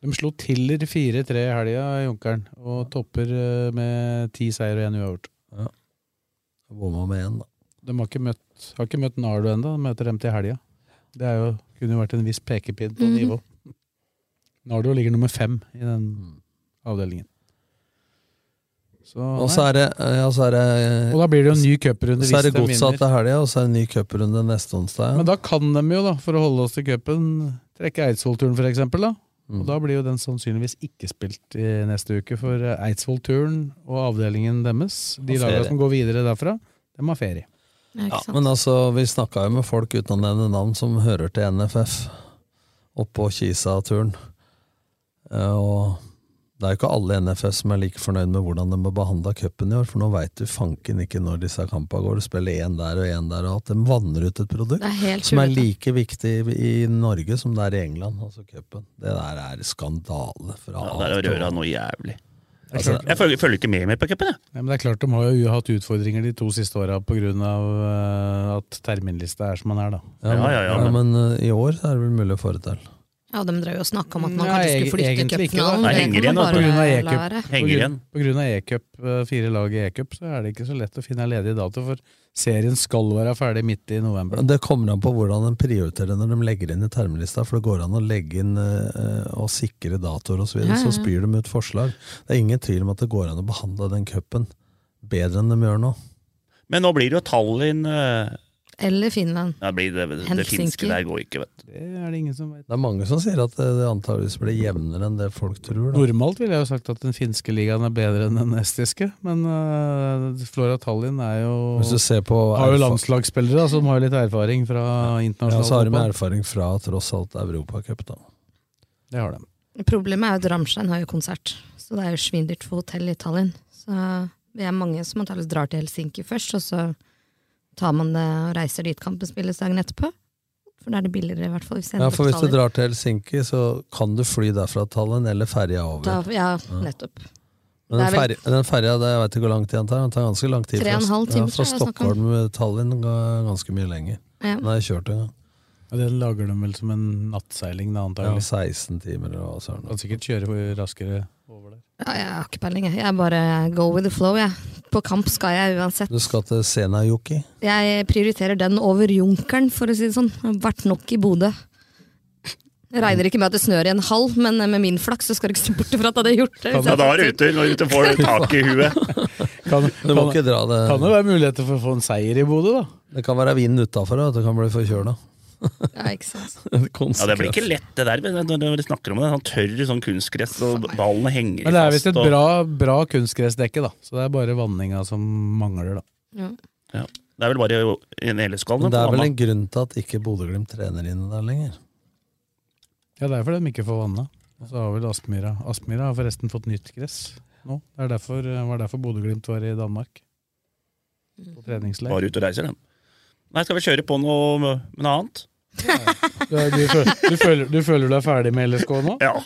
De slo Tiller 4-3 i helga, Junkeren, og topper eh, med ti seier og én uavgjort.
Jeg Bomma med én, da.
De har ikke møtt, har ikke møtt Nardo ennå, de møter dem til helga. Det er jo, kunne jo vært en viss pekepinn på
Mhm.
nivå. Nardo ligger nummer fem i den avdelingen. Så,
Og så er det, eh, ja, så er det,
Og da blir det jo en ny cuprunde
så
hvis
er det
de
godsatt
vinner.
til helga, og så er det ny cuprunde neste onsdag.
Men
igjen.
da kan de jo, da, for å holde oss til cupen, trekke Eidsvoll-turen for eksempel. Da. Og
Mm.
da blir jo den sannsynligvis ikke spilt i neste uke, for eh, Eidsvoll-turen og avdelingen deres, de
Har
lagene
ferie.
som går videre derfra, de har ferie.
Mhm. Ja,
Ja,
ikke sant?
men altså, vi snakka jo med folk uten å nevne navn som hører til NFF, oppå Kisa-turen. Eh, Og det er jo ikke alle i NFF som er like fornøyd med hvordan de har behandla cupen i år, for nå veit du fanken ikke når disse kampene går. Du spiller én der og én der, og at de vanner ut et produkt
det er helt
som er
tullete.
like viktig i i Norge som det er i England, altså cupen. Det der er skandale fra
ja
A
det er å
til Å.
røre noe jævlig.
Altså,
Jeg følger, følger ikke med mer på cupen, jeg.
Nei, men det er klart de har jo hatt utfordringer de to siste åra pga. Uh, at terminlista er som den er, da.
ja,
Ja,
men,
ja, ja, men-
eh, i år så er det vel mulig å få det til.
Ja, de drev jo og snakka om at
Nei,
man kanskje skulle flytte
egentlig ikke, da.
cupfinalen.
Nei,
Det
henger
kan
igjen,
man
da,
bare
på grunn av
la
e-cup.
være.
Henger igjen.
Pga. e-cup, eh, fire lag i e-cup, så er det ikke så lett å finne ledige datoer, for serien skal være ferdig midt i november.
Det kommer an på hvordan de prioriterer når de legger inn i termelista, for det går an å legge inn eh, og sikre datoer osv., så,
Ja,
videre,
ja,
så
ja.
spyr de ut forslag. Det er ingen tvil om at det går an å behandle den cupen bedre enn de gjør nå.
Men nå blir det jo Tallinn eh,
Eller Finland.
ja, det, blir det, det, det
Helsinki.
finske der går ikke, vet du.
Det er det ingen som vet.
Det er mange som sier at det, det antageligvis blir jevnere enn det folk tror. Da.
Normalt ville jeg jo sagt at den finske ligaen er bedre enn den estiske, men eh, Flora Tallinn er jo
Hvis du ser på
har jo
erfa-
landslagsspillere da, som har jo litt erfaring fra
ja,
internasjonal
så har de
fotball.
erfaring fra tross alt Europacup, da.
Det har de.
Problemet er jo at Ramstein har jo konsert, så det er jo svindyrt for hotell i Tallinn. Så vi er mange som antakeligvis drar til Helsinki først, og så tar man det og reiser dit kampen spilles dagen etterpå. For da er det billigere, i hvert fall. Hvis jeg
Ja,
ender
for
på
hvis du
Tallinn.
drar til Helsinki, så kan du fly derfra til Tallinn eller ferja
da,
over.
Ja, nettopp.
Men den,
det er vel-
ferja, den ferja, det, jeg vet ikke hvor lang tid den tar, den tar ganske lang tid.
Tre og en
fra-
halv time,
ja, fra
tror jeg det er snakk om.
Stockholm til Tallinn ga ganske mye lenger.
Ja.
Den har jeg kjørt en gang.
Ja, den lager de vel som en nattseiling, da,
Ja,
antagelig.
16 timer eller hva søren.
Kan sikkert kjøre raskere over der.
Ja, jeg har ikke peiling, jeg. Jeg bare go with the flow, jeg. På kamp skal jeg uansett.
Du skal til Senajoki.
Jeg prioriterer den over Junkeren, for å si det sånn. Jeg har vært nok i Bodø. Jeg regner ikke med at det snør i en halv, men med min flaks så skal du ikke se bort ifra at jeg hadde gjort det. hvis
Ja,
jeg
da er
faktisk-
du ute når du får tak i huet.
Kan,
Du må
kan,
ikke dra det.
kan det være muligheter for å få en seier i Bodø, da?
Det kan være vind utafor, og du kan bli forkjøla.
Ja, ikke sant.
Ja, Det blir ikke lett, det der. men Når når dere snakker om det, sånn tørr sånn kunstgress, og ballene henger
Men det er visst et
og-
bra, bra kunstgressdekke, da. Så det er bare vanninga som mangler, da.
Ja.
Det er vel bare jo- en eleskall.
Men det er vel en grunn til at ikke Bodø-Glimt trener inne der lenger.
Ja, det er fordi de ikke får vanna. Og så har vel Aspmyra Aspmyra har forresten fått nytt gress nå. Det er derfor, eh, var derfor Bodø-Glimt var i Danmark. På treningsleir.
Bare ute og reiser, den. Nei, skal vi kjøre på noe, med noe annet?
Du, er- du, føl- du, føler, du føler du er ferdig med LSK nå?
Ja.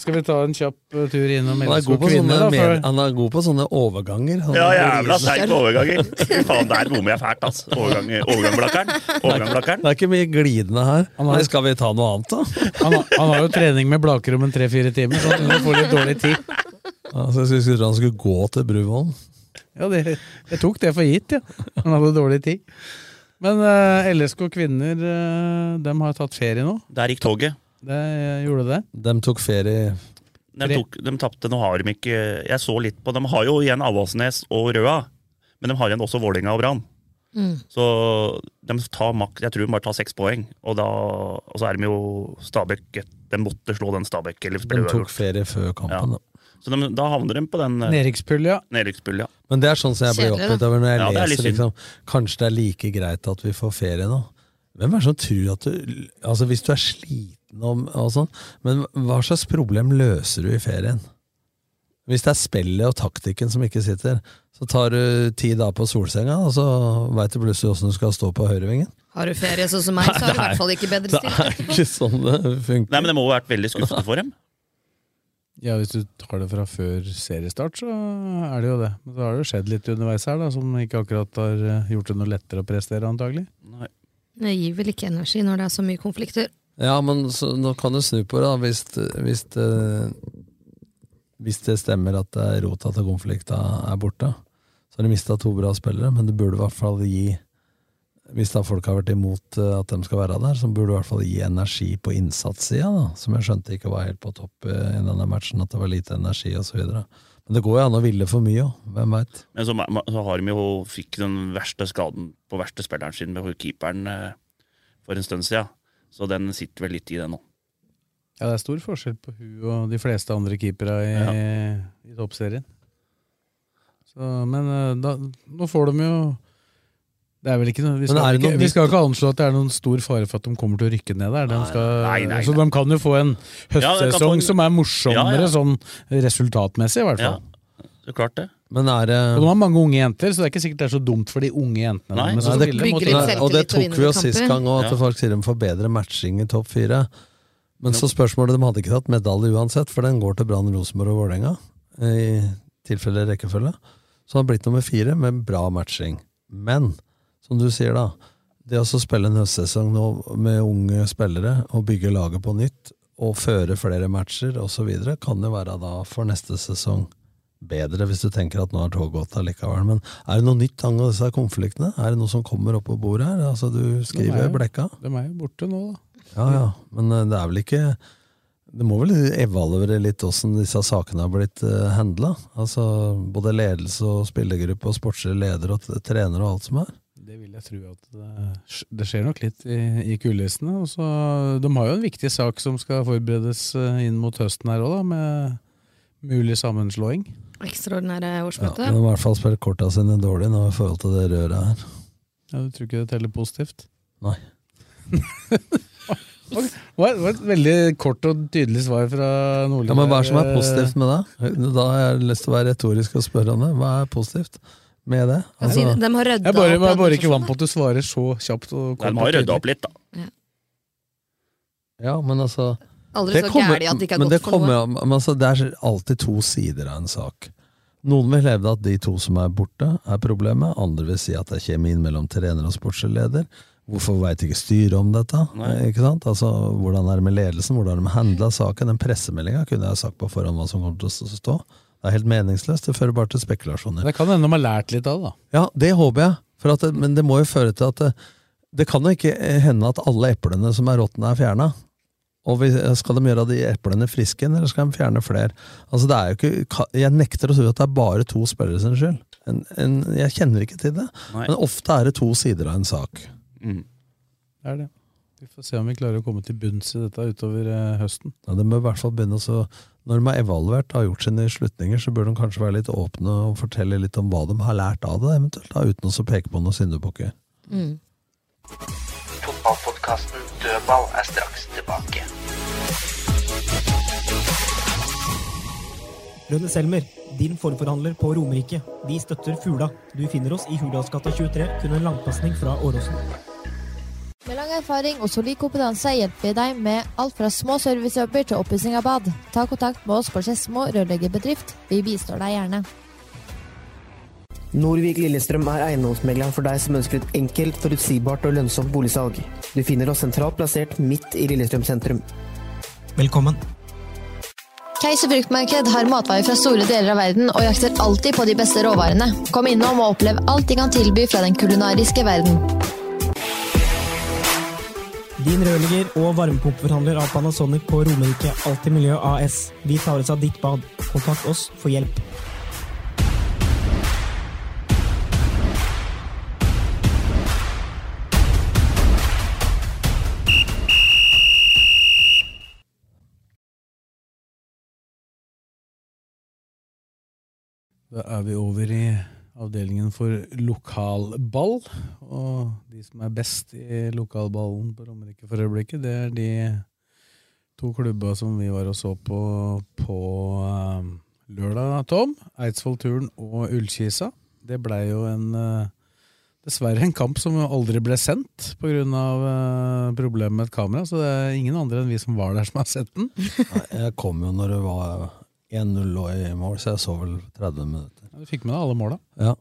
Skal vi ta en kjapp eh, tur innom
Han er,
LSK
god på sånne,
kvinner, da?
mer,
Før,
han er god på sånne overganger. Han
Ja,
er
jævla
grisesterk.
sterk på overganger. Fy faen, der bommer jeg fælt, altså. Overgang, overgangblakkeren. Overgangblakkeren.
Det er ikke mye glidende her.
Han har-
Nei, skal vi ta noe annet, da?
han, har- han har jo trening med Blaker om en tre-fire timer, så han får litt dårlig tid.
Altså, jeg skulle tro han skulle gå til Bruvollen.
Ja, det, jeg tok det for gitt, ja. Han hadde dårlig tid. Men eh, LSK kvinner eh, dem har tatt ferie nå.
Der gikk toget.
Det eh, gjorde det.
De tok ferie
De, tok, de tapte, nå har de ikke Jeg så litt på De har jo igjen Avaldsnes og Røa, men de har igjen også Vålerenga og Brann.
Mm.
Så de tar makt, jeg tror de bare tar seks poeng, og, da, og så er de jo Stabæk De måtte slå den Stabæk. Eller
De
spille
tok
uavgjort.
ferie før
Ja.
kampen, da.
Så de, da havner de på den eh,
Nedrykkspull, ja.
nedrykkspulja.
Men det er sånn som jeg blir
Kjedelig, da.
opptatt over når jeg
Ja, det er litt
leser
synd.
liksom, Kanskje det er like greit at vi får ferie nå? Hvem er det som tror at du Altså Hvis du er sliten om, og sånn, men hva slags problem løser du i ferien? Hvis det er spillet og taktikken som ikke sitter, så tar du ti dager på solsenga, og så veit du plutselig åssen du skal stå på høyrevingen.
Har du ferie sånn som meg, så har du i hvert fall ikke bedre
Det
stilt.
er ikke sånn det funker.
Nei, men det må ha vært veldig skuffende for dem.
Ja, Hvis du tar det fra før seriestart, så er det jo det. Men så har det jo skjedd litt underveis her, da, som ikke akkurat har eh, gjort det noe lettere å prestere, antagelig.
Nei.
Det gir vel ikke energi når det er så mye konflikter.
Ja, men så, nå kan du snu på det, da. Hvis, hvis, det, hvis det stemmer at det er rota til konflikta er borte, så har de mista to bra spillere, men det burde i hvert fall gi Hvis da folk har vært imot eh, at de skal være der, så burde du i hvert fall gi energi på innsatssida, da, som jeg skjønte ikke var helt på topp eh, i denne matchen, at det var lite energi osv. Men det går jo an å ville for mye òg, hvem veit.
Men så, så har de jo fikk den verste skaden på verste spilleren sin med keeperen eh, for en stund siden. Så den sitter vel litt i det nå.
Ja, Det er stor forskjell på hun og de fleste andre keepere i, i toppserien. Så, men eh, da, nå får de jo det er vel ikke noe, vi, skal,
er det
ikke,
noe
vi
nytt-
skal ikke anslå at det er noen stor fare for at de kommer til å rykke ned der. De skal,
nei, nei,
så de kan jo få en
Ja, de kan få
høstsesong
en-
som er morsommere
Ja, ja.
sånn resultatmessig, i hvert
Ja,
fall.
det er klart det.
Men er det
Og de har mange unge jenter, så det er ikke sikkert det er så dumt for de unge jentene.
Nei.
men så
Nei, det-
spiller de mot-
Bygger litt
Nei, og det
selvtillit og
tok vi jo
vinner
sist
kamper.
gang òg, at
Ja.
folk sier de får bedre matching i topp fire. Men så spørsmålet, de hadde ikke tatt medalje uansett, for den går til Brann, Rosenborg og Vålerenga. eh, I tilfelle rekkefølge. Så han har blitt nummer fire med bra matching. Men, som du sier da, det å så spille en høstsesong nå med unge spillere, og bygge laget på nytt, og føre flere matcher osv., kan jo være da for neste sesong bedre, hvis du tenker at nå har toget gått allikevel. Men er det noe nytt angående disse konfliktene? Er det noe som kommer opp på bordet her? Altså, du skriver
Nei.
blekka.
De er jo borte nå, da.
Ja, ja. Men eh, det er vel ikke Det må vel evaluere litt åssen disse sakene har blitt uh, handla? Altså både ledelse og spillergruppe og sportslig leder og t- trener og alt som er.
Det vil jeg tro at det, det skjer nok litt i, i kulissene. Og så, de har jo en viktig sak som skal forberedes eh, inn mot høsten her òg, med mulig sammenslåing.
Ekstraordinære
Ja, de
årsmøte.
har i hvert fall spilt korta sine dårlig nå i forhold til det røret her.
Ja, du tror ikke det teller positivt?
Nei.
Det var, det var et veldig kort og tydelig svar fra Nordli. Eh,
Ja, men hva er det som er positivt med det? Da har jeg lyst til å være retorisk og spørre om det. Hva er positivt med det?
Ja, si det.
Altså,
de har rydda
Jeg bare,
opp sånn i
jeg bare ikke vant på
administrasjonen,
at du svarer så kjapt. Og
De har jo rydda opp litt, da.
ja, men altså
da. Aldri så gærent at de ikke har
men det
gått for
kommer
noe.
jo- men altså, det er alltid to sider av en sak. Noen vil hevde at de to som er borte, er problemet. Andre vil si at det er kjemien mellom trener og sportsleder. Hvorfor veit ikke styret om dette?
Nei.
Ikke sant? Altså, hvordan er det med ledelsen? Hvordan har de handla saken? Den pressemeldinga kunne jeg sagt på forhånd hva som kommer til å stå. Det er helt meningsløst. Det fører bare til spekulasjoner.
Det kan hende de har lært litt av det, da.
Ja, det håper jeg. For at, det- men det må jo føre til at det, det kan jo ikke hende at alle eplene som er råtne, er fjerna. Og vi, skal de gjøre de eplene friske, igjen, eller skal de fjerne flere? Altså, det er jo ikke, ka- jeg nekter å tro at det er bare to spillere sin skyld. En, en, jeg kjenner ikke til det.
Nei.
Men ofte er det to sider av en sak.
Mm.
Det er det. Vi får se om vi klarer å komme til bunns i dette utover eh, høsten.
Ja, de bør i hvert fall begynne å så- Når de er evaluert og har gjort sine slutninger, så bør de kanskje være litt åpne og fortelle litt om hva de har lært av det, eventuelt, da, uten å så peke på noen syndebukker.
Mm.
Fotballpodkasten Dødball er straks tilbake.
Rønne Selmer, din forforhandler på Romerike. Vi støtter Fula. Du finner oss i Hurdalsgata 23, kun en langpasning fra Åråsen.
Med lang erfaring og solid kompetanse hjelper vi deg med alt fra små servicejobber til oppussing av bad. Ta kontakt med oss på Skedsmo rørleggerbedrift. Vi bistår deg gjerne.
Norvik Lillestrøm er eiendomsmegleren for deg som ønsker et enkelt, forutsigbart og lønnsomt boligsalg. Du finner oss sentralt plassert midt i Lillestrøm sentrum.
Velkommen.
Keiser fruktmarked har matvarer fra store deler av verden og jakter alltid på de beste råvarene. Kom innom og opplev alt de kan tilby fra den kulinariske verden.
Din rørlegger og varmepumpeforhandler av Panasonic på Romerike Alltid Miljø AS. Vi tar oss av ditt bad. Kontakt oss for hjelp.
Da er vi over i avdelingen for lokalball. Og de som er best i lokalballen på Romerike for øyeblikket, det er de to klubba som vi var og så på på eh, lørdag, Tom. Eidsvollturen og Ullkisa. Det blei jo en eh, Dessverre en kamp som aldri ble sendt pga. Uh, problemet med et kamera. Så det er ingen andre enn vi som var der, som har sett den.
Jeg kom jo når det var 1-0 lå i mål, så jeg så vel 30 minutter.
Du fikk med deg alle måla.
Ja.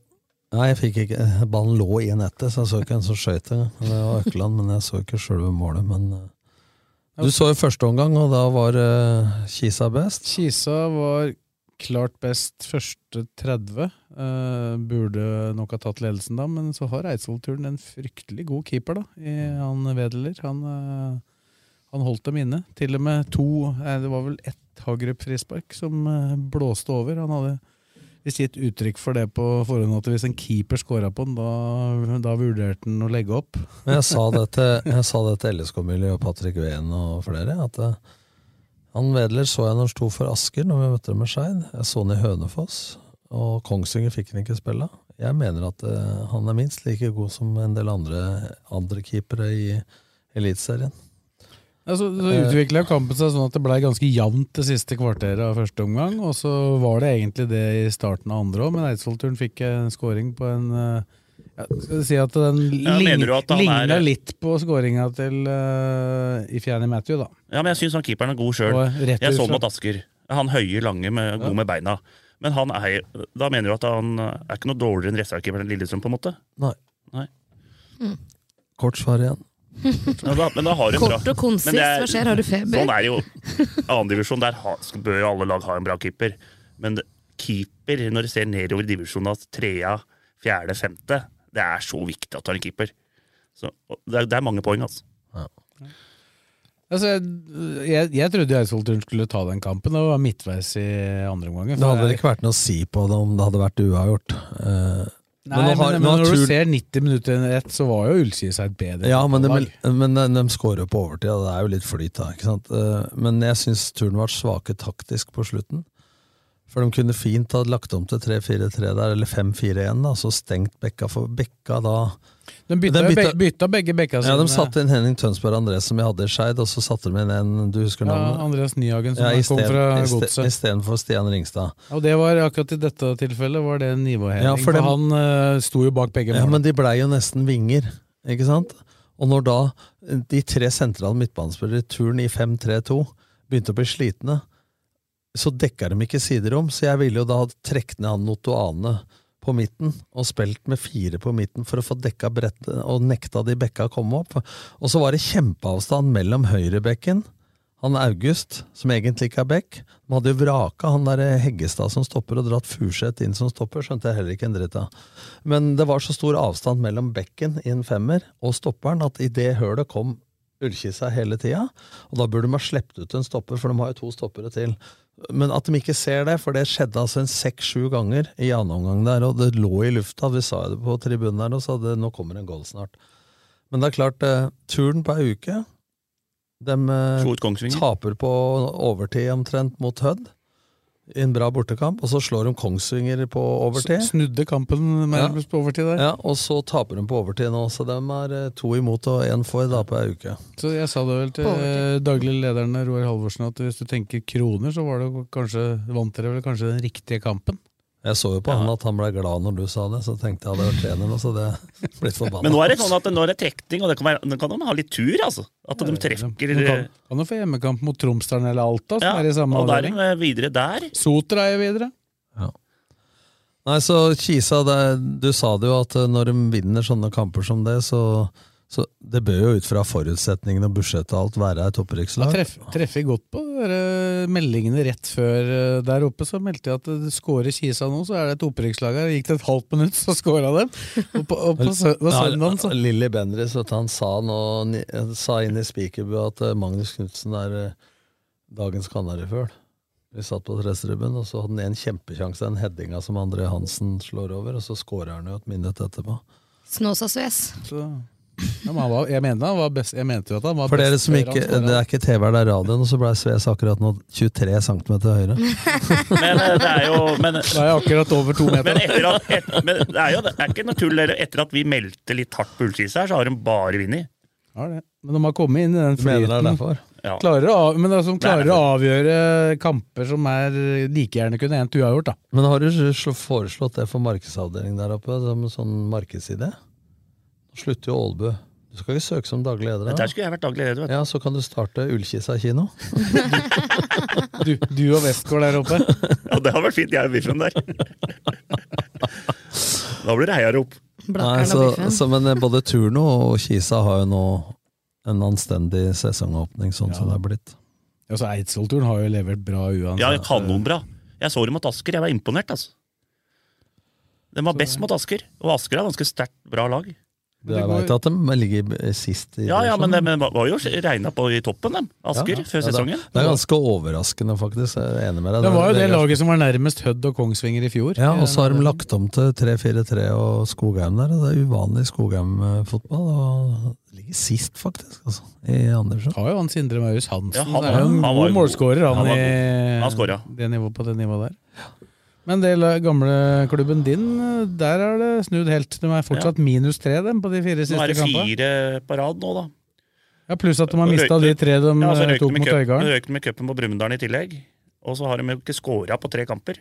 Nei, jeg fikk ikke, ballen lå i nettet, så jeg så ikke en som skøyt engang. Det var Økeland, men jeg så ikke sjølve målet. Men eh, du så jo første omgang, og da var eh, Kisa best.
Kisa var klart best første 30. Eh, burde nok ha tatt ledelsen da, men så har Eidsvollturen en fryktelig god keeper, da, i han Wedeler. Han, eh, han holdt dem inne. Til og med to eh, Det var vel ett Hagerup-frispark som eh, blåste over. Han hadde visst gitt uttrykk for det på forhånd, at hvis en keeper scora på den, da, da vurderte han å legge opp.
Men jeg sa det til, jeg sa det til LSK-miljøet og Patrick Ween og flere, at eh, han Wedler så jeg når han sto for Asker når vi møtte dem med Skeid. Jeg så han i Hønefoss, og Kongsvinger fikk han ikke spille. Jeg mener at eh, han er minst like god som en del andre, andre keepere i Eliteserien.
Ja, Altså, så så utvikla kampen seg sånn at det blei ganske jevnt det siste kvarteret av første omgang. Og så var det egentlig det i starten av andre òg, men Eidsvollturen fikk en scoring på en eh, ja, Skal vi si at den
Ja, mener du at han er-
ligna litt på scoringa til uh, Ifjani Matthew, da.
Ja, men jeg syns han keeperen er god sjøl.
Og rett
Jeg
ut
så
fra-
han mot Asker. Han høye, lange, med, god med beina. Men han er, da mener du at han er ikke noe dårligere enn reservekeeperen til Lillestrøm, på en måte?
Nei.
Nei.
Kort svar igjen.
Ja, da, men da har du en bra
Kort og konsist,
Men det er-
hva skjer? Har du feber?
Sånn er det jo. Annendivisjon, der ha, skal- bør jo alle lag ha en bra keeper. Men det- keeper, når du ser nedover i divisjonen at trea, fjerde, femte, det er så viktig at du har en keeper. Så, og det, er, det er mange poeng, altså.
Altså, jeg, jeg, jeg trodde Eidsvollturen skulle ta den kampen, og var midtveis i andre omgang.
Det hadde vel ikke vært noe å si på det om det hadde vært uavgjort. Eh,
Nei, men,
nå har- nå
men
har
når du
Turen-
ser 90 minutter under ett, så var jo Ullkisa et bedre
Ja, men,
lag.
de, men de, de skårer på overtid, og det er jo litt flyt da. Ikke sant? Eh, Men jeg syns turen var svake taktisk på slutten. For de kunne fint ha lagt om til 3-4-3 der, eller 5-4-1, da, så stengt bekka for bekka da.
De bytta,
De
jo
bytta-
be- bytta begge bekka
Ja, De
sine.
satte inn Henning Tønsberg André, som jeg hadde i Skeid, og så satte de inn en du husker
Ja,
navnet?
Andreas Nyhagen, som
Ja, i
kom
sted-
fra
i sted-
Godset.
Istedenfor Stian Ringstad.
Ja, Og det var akkurat i dette tilfellet var det en nivåheving.
Ja, for
for
dem-
han eh, sto jo bak begge
Ja,
målene.
men de blei jo nesten vinger, ikke sant? Og når da eh, de tre sentrale midtbanespillere i turen i 5-3-2 begynte å bli slitne, så dekka de ikke siderom, så jeg ville jo da ha trukket ned han Notoane på midten, og spilt med fire på midten for å få dekka brettet, og nekta de bekka å komme opp. Og så var det kjempeavstand mellom høyrebekken, han August, som egentlig ikke er bekk. De hadde jo vraka han der Heggestad som stopper, og dratt Furseth inn som stopper, skjønte jeg heller ikke en dritt av. Men det var så stor avstand mellom bekken i en femmer og stopperen at i det hølet kom Ullkisa hele tida, og da burde de ha sluppet ut en stopper, for de har jo to stoppere til. Men at de ikke ser det, for det skjedde altså en seks-sju ganger i annen omgang der, og det lå i lufta, vi sa jo det på tribunen der, og sa det, nå kommer en goal snart. Men det er klart, eh, turen på ei uke, eh, de eh,
Slo ut Kongsvinger.
taper på overtid omtrent mot Hødd, i en bra bortekamp, og så slår de Kongsvinger på overtid.
S- Snudde kampen med på overtid der.
Ja, og så taper de på overtid nå, så de er eh, to imot og én for da på ei uke.
Så jeg sa det vel til
På overtid.
eh, daglig lederen Roar Halvorsen at hvis du tenker kroner, så var det kanskje, vant dere vel kanskje den riktige kampen.
Jeg så jo på han at han ble glad når du sa det, så tenkte jeg hadde vært trener nå, så det blitt forbanna.
Men nå er det sånn at nå er det trekning, og det kan, være, nå kan de ha litt tur, altså. At de trekker
Du kan, kan jo få hjemmekamp mot Tromsdalen eller Alta, som
Ja,
er i samme
og da er
avdeling.
de videre der.
Sotra er jo videre.
Nei, så Kisa, det, du sa det jo at eh, når de vinner sånne kamper som det, så, så det bør jo ut fra forutsetningene og budsjettet og alt være et
Da
opprykkslag.
treff, treffer jeg godt på dere meldingene rett før eh, der oppe. Så meldte jeg at eh, skårer Kisa nå, så er det et opprykkslag her. Gikk det et halvt minutt, så skåra dem. Og på, og på sø det var
Ja,
søndagen, så
Lilly Bendriss vet du, han sa, nå, sa inn i Spikerbua at eh, Magnus Knutsen er eh, dagens kanarifugl. Vi satt på trestrubben, og så hadde han en kjempekjanse, den headinga som André Hansen slår over, og så skårer han jo et minutt etterpå.
Snåsa Suez.
Så, ja, men han var, jeg, mente han var best, jeg mente jo at han var
For dere
best
som
før han
ikke,
skåret.
Det er ikke TV, det er radioen, og så ble Sves akkurat nå 23 cm høyere.
Men eh, det er jo men,
Da er jeg akkurat over to meter.
men, etter at, et, men det er jo det er ikke noe tull. dere. Etter at vi meldte litt hardt på Ullskis her, så har de bare vunnet.
Ja, det. Men de har kommet inn i den
Du mener det er
flyten.
derfor?
Ja.
Klarer å, av- men det er som klarer
Nei,
å avgjøre kamper som er eh, like gjerne kunne endt uavgjort, da.
Men har du sl- foreslått det for markedsavdelingen der oppe, som en sånn markedsidé? Nå slutter jo Ålbu. Du skal ikke søke som daglig leder? da.
Der skulle jeg vært daglig leder. vet du.
Ja, så kan du starte Ullkisa kino.
Du, du og Westgård der oppe.
Ja, det hadde vært fint, jeg og Biffen der. Da blir det heia rop.
Nei,
Blakkeren og
så,
biffen.
så, men eh, både Turno og Kisa har jo nå en anstendig sesongåpning, sånn som det er blitt.
Ja, så Eidsvollturen har jo levert bra uansett.
Ja, kanonbra. Jeg så dem mot Asker, jeg var imponert, altså. De var best mot Asker, og Asker er ganske sterkt bra lag.
det
Jeg
går-
veit at de ligger sist i
Ja, ja, men
divisjonen.
de var jo regna på i toppen, dem. Asker,
Ja,
før
ja, det-
sesongen.
Det er ganske overraskende, faktisk. Jeg er enig med deg.
Det var jo det
er-
laget som var nærmest Hødd og Kongsvinger i fjor.
Ja, og så har de lagt om til 3-4-3 og Skogheim der. og Det er uvanlig Skogheim-fotball. Og ligger sist, faktisk, altså, i Andersen.
har jo han Sindre Maurus Hansen.
Ja, han-
han, er jo en
han var
god
jo
målskårer, han,
Han var
i
Han skåra.
det nivået på det nivået der. Men det la- gamle klubben din, der er det snudd helt. De er fortsatt minus tre dem på de fire
Nå er
siste
det
kampene.
fire på rad nå, da.
Ja, pluss at de har
Og
mista de
røyk-
tre de
Ja, så røyk
eh,
de
tok
med
mot
cup-
Øygarden.
røyk de med cupen på Brumunddal i tillegg. Og så har de jo ikke scora på tre kamper.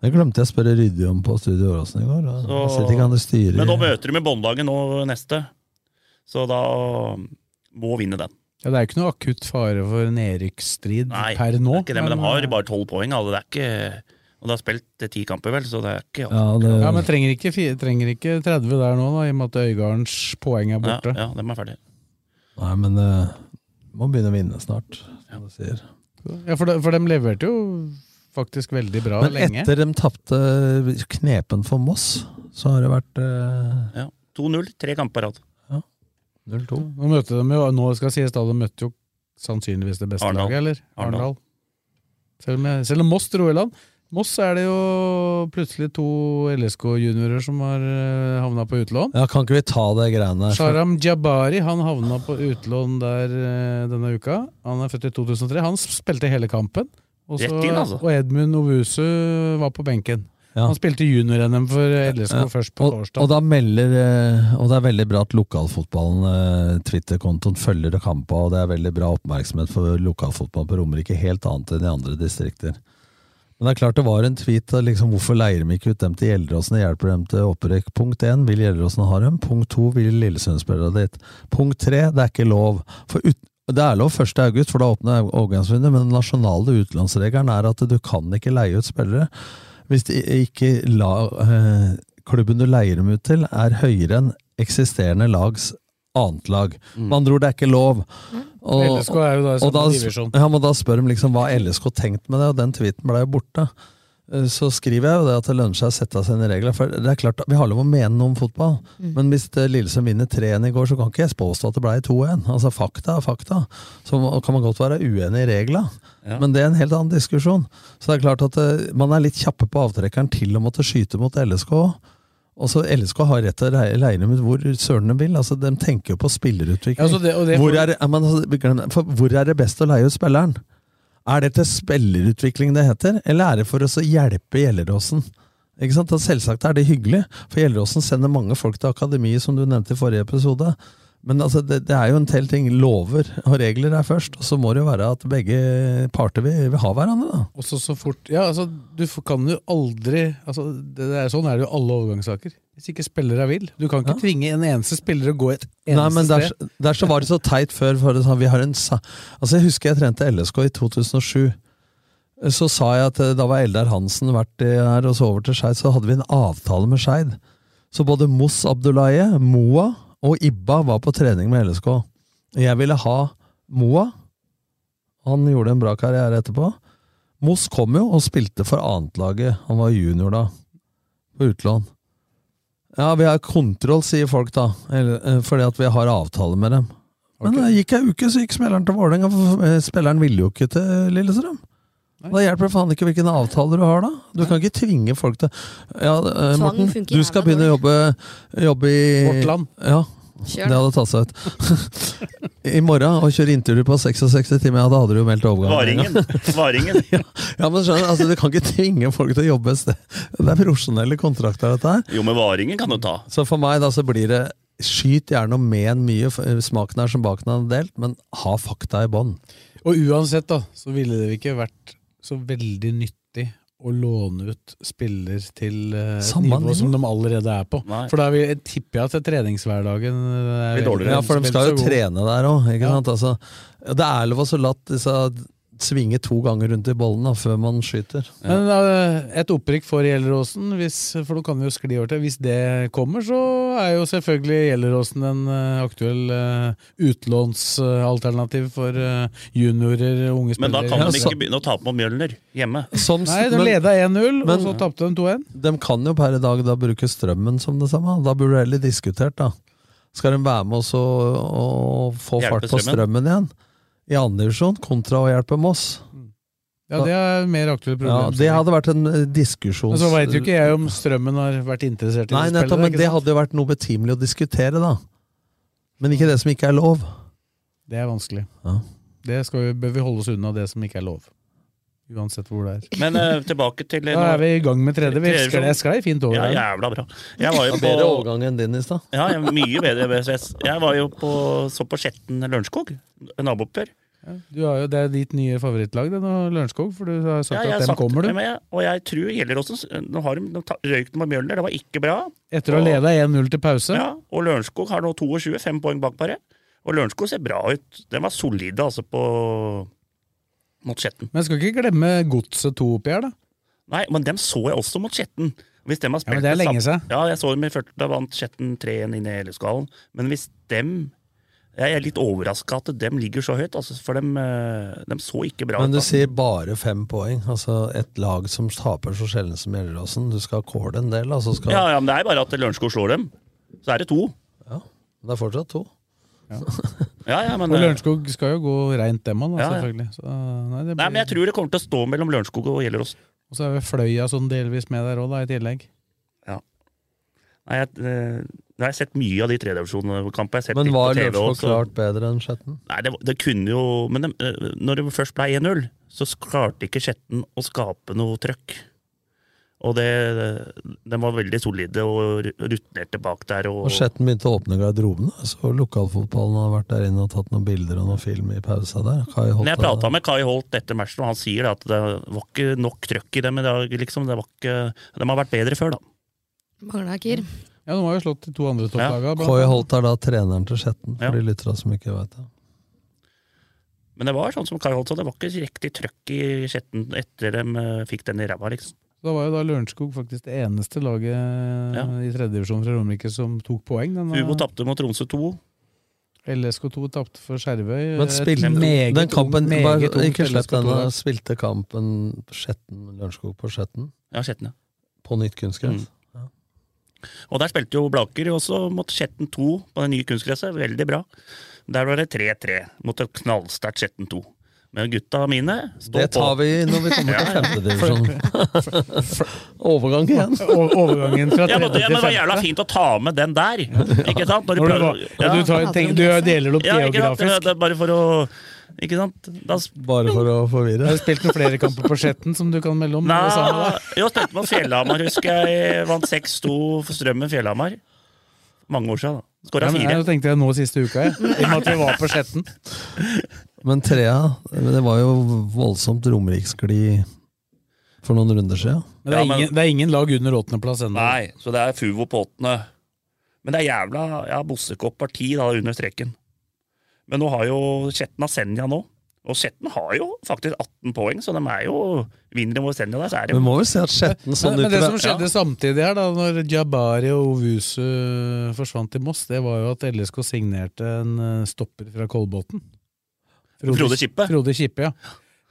Det glemte jeg å spørre Ryddi om på Studio Åråsen i går. Jeg sitter ikke han i styret.
Men nå møter de med Båndlaget nå neste, så da må vinne den.
Ja, det er jo ikke noe akutt fare for nedrykksstrid
Nei,
per nå. eh,
det er ikke det, men de har bare tolv poeng. alle. Det er ikke, og de har spilt eh, ti kamper, vel, så det er ikke
ja, det,
ja, men trenger ikke, fi- trenger ikke 30 der nå, da, i og med at Øygardens poeng
Ja,
er borte.
ja de er ferdige.
Nei, men eh, må begynne å vinne snart, som du sier.
Ja, for, de, for dem leverte jo faktisk veldig bra
Men
lenge.
etter de tapte knepen for Moss, så har det vært eh,
Ja. 2-0, tre kamper på rad.
0-2.
Nå møtte de jo, nå skal sies da, de møtte jo sannsynligvis det beste
Arendal.
laget, eller?
Arendal.
Arendal. Selv, om jeg- selv om Moss dro i land. Moss er det jo plutselig to LSK-juniorer som har eh, havna på utlån.
Ja, kan ikke vi ta det greiene der? For,
Sharam Jabari han havna på utlån der eh, denne uka. Han er født i 2003. Han spilte hele kampen. Og, så,
Rett inn, altså.
og Edmund Ovusu var på benken.
Ja.
Han spilte junior-NM for LSK
Ja.
først på
og, og
torsdag.
da melder eh, Og det er veldig bra at lokalfotballen, eh, Twitter-kontoen, følger kampa, og det er veldig bra oppmerksomhet for lokalfotball på Romerike, helt annet enn i andre distrikter. Men det er klart det var en tweet av liksom, hvorfor leier de ikke ut dem til Gjelleråsen og hjelper dem til opprykk. Punkt én, vil Gjelleråsen ha dem? Punkt to, vil Lillesund-spillerne dit? Punkt tre, det er ikke lov. For ut, det er lov 1. august, for da åpner overgangsvinduet, men den nasjonale utlånsregelen er at du kan ikke leie ut spillere hvis de ikke la, eh, klubben du leier dem ut til, er høyere enn eksisterende lags annet lag. Med andre ord, det er ikke lov.
Mm.
Og-
LSK er jo da i
og
samme
da,
divisjon.
ja, men da spør de liksom hva LSK tenkte med det, og den tweeten ble jo borte. Eh, Så skriver jeg jo det at det lønner seg å sette av sine regler. For det er klart, Vi har lov å mene noe om fotball, men hvis eh, Lillesund vinner 3-1 i går, så kan ikke jeg påstå at det ble 2-1. Altså Fakta er fakta. Så må- kan man godt være uenig i reglene, men det er en helt annen diskusjon. Så det er klart at eh, man er litt kjappe på avtrekkeren til å måtte skyte mot LSK. Og så LSK har rett til å leie- leie dem ut hvor søren de vil. altså De tenker jo på spillerutvikling.
Ja, så det- og det-
altså, hvor, er, det- ja, men altså, vi glemmer- for hvor er det best å leie ut spilleren? Er det til spillerutvikling det heter, eller er det for oss å hjelpe Gjelleråsen? Ikke sant? Og selvsagt er det hyggelig, for Gjelleråsen sender mange folk til akademiet, som du nevnte i forrige episode. Men altså, det, det er jo en del ting. Lover og regler er først, og så må det jo være at begge parter vil, vil ha hverandre. da.
Også så fort Ja, altså, du f- kan jo aldri altså, det det er Sånn er det jo alle overgangssaker. Hvis ikke spillere vil. Du kan ikke tvinge en eneste spiller å gå et eneste
Nei, men der,
sted.
der så var det så teit før. For det, sa, vi har en, sa- altså jeg husker jeg trente LSK i 2007. Så sa jeg at eh, da var Eldar Hansen vært i her, og så over til Skeid, så hadde vi en avtale med Skeid. Så både Moss Abdullaye, Moa og Ibba var på trening med LSK. Jeg ville ha Moa. Han gjorde en bra karriere etterpå. Moss kom jo og spilte for annetlaget. Han var junior da, på utlån. Ja, vi har kontroll, sier folk da, eller, eh, fordi at vi har avtale med dem. Men det gikk ei uke, så gikk spilleren til Vålerenga, for eh, spilleren ville jo ikke til Lillestrøm. Da hjelper det faen ikke hvilken avtale du har, da. Du kan ikke tvinge folk til Ja, eh,
Tvang
Morten,
funker
du skal
jævla
begynne å jobbe, jobbe i
Vårt Land.
Ja.
Kjør.
Det hadde tatt seg ut. I morgen og kjøre intervju på 66 timer, ja, da hadde du jo meldt overgang.
Varingen. Varingen.
ja, ja, men skjønner, du, altså, Du kan ikke tvinge folk til å jobbe et sted. Det er profesjonelle kontrakter, dette her.
Jo, men varingen kan du ta.
Så for meg da så blir det Skyt gjerne med en mye, for eh, smaken er som baken er delt, men ha fakta i bånn.
Og uansett, da, så ville det ikke vært så veldig nyttig å låne ut spiller til eh, et
Samme
nivå
nivå.
som de allerede er på.
Nei.
For da vil- jeg tipper jeg at treningshverdagen eh, er veldig-
Ja, for de skal jo
veldig så god.
trene der òg.
Ja.
Altså, det er lov å så latt disse svinge to ganger rundt i bollen da, før man skyter.
Men eh, et opprykk for Gjelleråsen, hvis, for nå kan vi jo skli over til Hvis det kommer, så er jo selvfølgelig Gjelleråsen en eh, aktuell eh, utlånsalternativ for eh, juniorer, unge spillere.
Men da kan de ikke begynne å tape mot Mjølner hjemme.
Nei, de leda 1-0, og så tapte de 2-1.
De kan jo per i dag da bruke strømmen som det samme. Da burde du heller diskutert, da. Skal de være med oss og, og få
Hjelpe
fart på
strømmen?
strømmen igjen? I andre divisjon kontra å hjelpe Moss.
Ja, det er mer
Ja,
aktuelle problemer.
det hadde vært en eh, diskusjons...
Men så veit jo ikke jeg om strømmen har vært interessert i
Nei,
spillere,
nettopp, men
ikke
det
sant?
hadde jo vært noe betimelig å diskutere, da. Men ikke det som ikke er lov.
det er vanskelig.
Ja.
Det skal vi, bør vi holde oss unna det som ikke er lov. Uansett hvor det er.
Men eh, tilbake til
Da er vi i gang med tredje. Vi
Tredje
skal-
divisjon.
jeg sklei fint over
Ja,
her.
jævla bra. Jeg var jo
Det var bedre
på
overgang enn din i stad.
Ja, jeg er mye bedre enn BSS. Jeg var jo på, så på Skjetten Lørenskog, nabooppgjør.
Du har jo, det er ditt nye favorittlag, det nå, Lørenskog. For du har sagt
Ja, jeg
at
har
den
sagt-
kommer,
Ja,
du.
men jeg- Og jeg tror Gjelleråsen Nå har de, de ta- røyk de med Mjølner, det var ikke bra.
Etter å ha
Og-
leda 1-0 til pause.
Ja, og Lørenskog har nå 22, fem poeng bak bare. Og Lørenskog ser bra ut. Den var solide, altså, på mot Skjetten.
Men jeg skal ikke glemme Godset 2-oppgjør, da.
Nei, men dem så jeg også mot Skjetten. Hvis dem har
Ja,
spilt
men det er
samme-
lenge siden.
Ja, jeg så dem i 40, da vant Skjetten 3-1 inn i Elleskalen. Men hvis dem Jeg er litt overraska at dem ligger så høyt, altså, for dem, eh, dem så ikke bra ut.
Men du
altså.
sier bare fem poeng. Altså et lag som taper så sjelden som Gjelleråsen. Du skal kåle en del, altså. Skal,
Ja, ja, men det er bare at Lørenskog slår dem. Så er det to.
Det er fortsatt to.
Ja, ja, men,
og
eh,
Lørenskog skal jo gå reint, dem òg,
altså.
Ja, ja.
selvfølgelig. Så, nei, det
Nei,
blir,
men jeg tror det kommer til å stå mellom Lørenskog og Gjelleråsen.
Og så er vel Fløya sånn delvis med der òg, da, i tillegg.
Nei, jeg, eh, nå har jeg sett mye av de tredivisjonskampene. jeg har sett
Men
litt
var
på TV
Lørenskog
også.
klart bedre enn Skjetten?
Nei, det, det kunne jo Men de, eh, når det først ble 1-0, så klarte ikke Skjetten å skape noe trøkk. Og det, de var veldig solide og ru- rutinerte bak der. Og,
Og Skjetten begynte å åpne garderobene, så lokalfotballen har vært der inne og tatt noen bilder og noen film i pausa der. Kai
men jeg
Holt
prata med Kai Holt etter matchen, og han sier da at det var ikke nok trøkk i dem i dag. Liksom. Det var ikke, de har vært bedre før, da.
Mangla gir.
Ja, de har jo slått de to andre topplagene. blant
Kai
annet.
Holt er da treneren til Skjetten, for de lytterne som ikke vet det.
Men det var sånn som Kai Holt sa, det var ikke riktig trøkk i Skjetten etter de eh, fikk den i ræva, liksom.
Da var jo da Lørenskog faktisk det eneste laget i tredjedivisjon fra Romerike som tok poeng. denne-
Ubo tapte mot Tromsø 2.
LSK2 tapte for Skjervøy.
Men
Et
spilte
meget
den kampen
ungt- meget
bare,
ungt
Ikke slipp
LSK2
den,
-lag.
da. Spilte kampen Skjetten, Lørenskog på Skjetten?
Ja, Skjetten, ja.
På nytt kunstgress?
Mm. Og der spilte jo Blaker også mot Skjetten 2 på det nye kunstgresset. Veldig bra. Der var det 3-3 mot et knallsterkt Skjetten 2. Men gutta mine står
Det tar
på.
vi når vi kommer til femtedivisjon. Overgang igjen.
Overgangen fra
ja, men, ja,
tredje
men det var
til
jævla
femte.
fint å ta med den der! Ikke sant?
Når du var- og du tar- tenker- du deler det opp
Ja, ikke sant?
geografisk.
Det er bare for å Ikke sant? Da
Bare for å forvirre.
Du har spilt noen flere kamper på Skjetten som du kan melde om. det samme
Nei,
da.
jeg spilte mot Fjellhamar, husker jeg. Vant 6-2 for Strømmen Fjellhamar. Mange år siden, da. Skåra
Ja, men
fire.
jeg tenkte jeg nå siste uka, jeg. I og med at vi var på Skjetten.
Men Trea, det var jo voldsomt Romeriksgli for noen runder siden.
Men det, er ingen, det er ingen lag under åttendeplass ennå.
Nei, så det er Fuvo på åttende. Men det er jævla ja, Bossekopp-parti da under streken. Men nå har jo Skjetten av Senja nå. Og Skjetten har jo faktisk 18 poeng, så de er jo vinner de mot Senja der, så er de
Vi må vel si at Skjetten sånn
men, men
ut
det
fra-
som skjedde
Ja.
samtidig her, da når Jabari og Ovusu forsvant til Moss, det var jo at LSK signerte en eh, stopper fra Kolbotn.
Frode Kippe.
Frode Kippe, ja.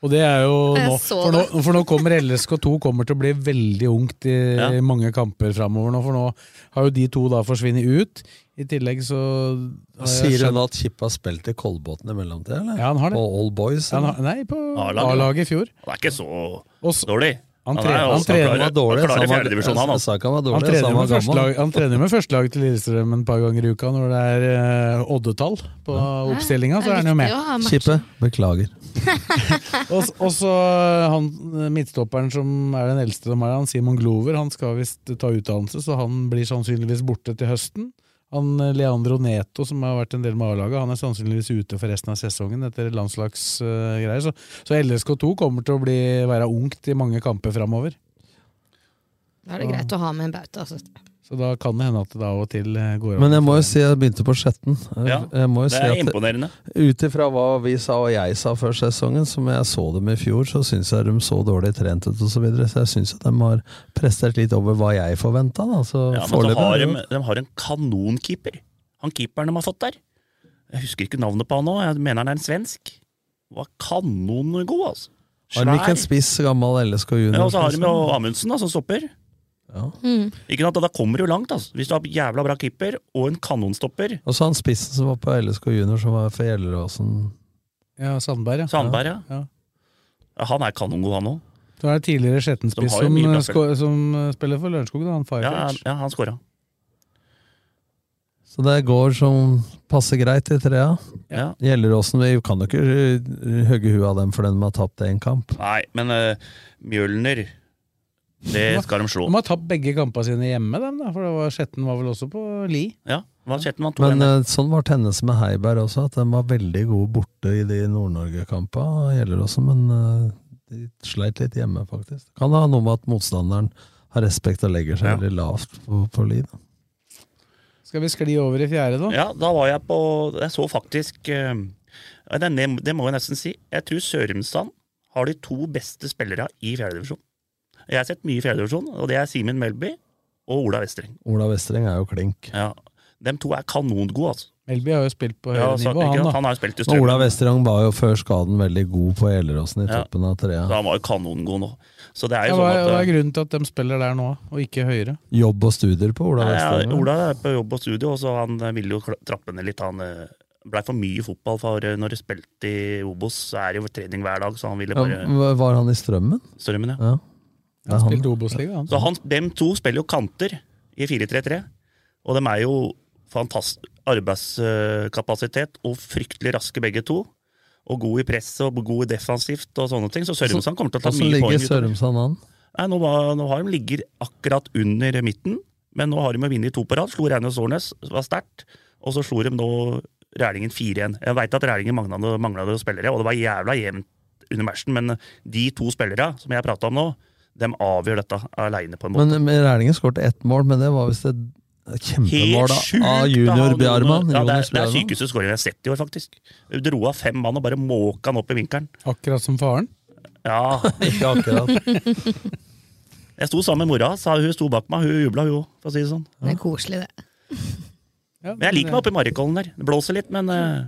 Og det er jo
Jeg
nå,
så
for nå,
det.
for nå kommer LSK2 kommer til å bli veldig ungt i
Ja.
mange kamper framover. Nå, for nå har jo de to da forsvunnet ut. I tillegg så har jeg
Sier hun
skjønt-
at Kipp har spilt i Kolbotn i mellomtida, eller?
Ja, han har det.
På Old Boys?
Ja, han
eller?
har- Nei, på
A-laget.
A-laget i fjor.
Han er ikke så
Og så-
dårlig.
Han,
er
tre,
jo
han,
også-
trener,
klarer-
var dårlig,
Han
så han
klarer
var-
fjerdedivisjon, han. altså.
jeg sa ikke han var dårlig,
han
jeg sa
trener,
han
med
var gammel.
førstelag, han trener med førstelaget til Lillestrøm en par ganger i uka når det er eh, oddetall på oppstillinga. Så er han jo med.
Kippe, beklager.
Og s- og så han eh, midtstopperen som er den eldste de har, han Simon Glover, han skal visst ta utdannelse, så han blir sannsynligvis borte til høsten. Han eh, Leandro Neto, som har vært en del med A-laget, han er sannsynligvis ute for resten av sesongen etter landslagsgreier. så, så LSK2 kommer til å bli, være ungt i mange kamper framover.
Da er det greit å ha med en bauta. Altså.
Så da kan det hende at det av og til eh, går
Men jeg må jo si jeg begynte på Skjetten. Jeg-
Ja,
jeg må jo
det
si
er
at-
imponerende.
Ut ifra hva vi sa og jeg sa før sesongen, som jeg så dem i fjor, så syns jeg de så dårlig trent ut osv. Så, videre, så jeg syns at de har prestert litt over hva jeg forventa. Så
Ja, men de
foreløpig
har,
er det
en- de har en kanonkeeper. Han keeperen de har fått der. Jeg husker ikke navnet på han nå, jeg mener han er en svensk. Var kanongod, altså.
jo- Har de ikke en spiss, gammel LSK junior?
Ja, og så har de jo Amundsen da, som stopper. Ikke sant? Og Da kommer du langt. altså. Hvis du har jævla bra keeper og en kanonstopper.
Og så han spissen som var på LSK junior, som var for Gjelleråsen.
Ja, Sandberg, ja.
Sandberg, ja.
ja.
Ja, Han er kanongod, han òg.
Så er det tidligere
De
Skjetten-spiss
har jo
som,
mye
eh,
plasser.
sko- som eh, spiller for Lørenskog, da, han
Ja,
Firefish.
ja, han scora.
Så det går som passer greit i trea.
Ja.
Gjelleråsen, vi kan jo ikke uh, hugge huet av dem for den de har tapt én kamp.
Nei, men eh, Mjølner Det skal de slå.
De har tapt begge kampene sine hjemme, dem, da, for det var, Skjetten var vel også på Li.
Ja, hva skjedde med han to
Men
igjen?
eh, sånn var Tennes med Heiberg også, at de var veldig gode borte i de Nord-Norge-kampene, gjelder også, men eh, de sleit litt hjemme, faktisk. Kan ha noe med at motstanderen har respekt og legger seg veldig lavt på, på lyd.
Skal vi skli over i fjerde, da?
Ja, da var jeg på Jeg så faktisk eh, ja, det, er nem- det må jeg nesten si. Jeg tror Sørumsand har de to beste spillere i fjerdedivisjon. Jeg har sett mye i fjerdedivisjon, og det er Simen Melby og Ola Vestreng.
Ola Vestreng er jo klink.
Ja, De to er kanongode, altså.
Melby har jo spilt på høyere
Ja, så-
nivå,
ikke sant?
han da.
Han har jo spilt i
Men Ola
Strømmen.
Vestreng var jo før skaden veldig god på Gjelleråsen i
Ja.
toppen av trea.
Så han var jo kanongod nå. Så det er
Ja,
jo
hva,
sånn
er,
at
hva er grunnen til at de spiller der nå, og ikke høyere?
Jobb og studier på Ola
Nei,
Vestreng.
ja,
vel?
Ola er på jobb og studio, og så han eh, ville jo kla- trappe ned litt. Han eh, blei for mye fotball, for eh, når du spilte i Obos, så er det jo trening hver dag, så han ville bare
Ja, var- var han i Strømmen?
Strømmen, ja.
Det er han.
Obos-liga, han.
Så han, dem to spiller jo kanter i 4-3-3, og de er jo fantastisk arbeidskapasitet og fryktelig raske begge to. Og god i presset og god i defensivt og sånne ting. Så Sørumsand kommer til å ta
Hvordan
mye poeng.
ligger
utover.
Sørumsand an?
Nei, nå, var, nå har de ligger akkurat under midten, men nå har de jo vunnet to på rad. Slo Reine Sårnes, var sterkt, og så slo de nå Rælingen 4-1. Jeg veit at Rælingen mangla mangla noen spillere, og det var jævla jevnt under matchen, men eh, de to spillerne som jeg prata om nå, de avgjør dette aleine, på en måte.
Men men Rælingen skåret ett mål, men det var visst et kjempemål da,
da,
av junior
han-
Bjarman.
Ja, det,
Jonas
er, det er
Bjarman.
sykeste skåringen jeg har sett i år, faktisk. Dro av fem mann og bare måka han opp i vinkelen.
Akkurat som faren?
Ja.
Ikke akkurat.
Jeg sto sammen med mora, sa hun sto bak meg. Hun jubla, hun òg, for å si det sånn.
Det er koselig, det.
Men jeg liker meg oppe i Marikollen der. Det blåser litt, men eh,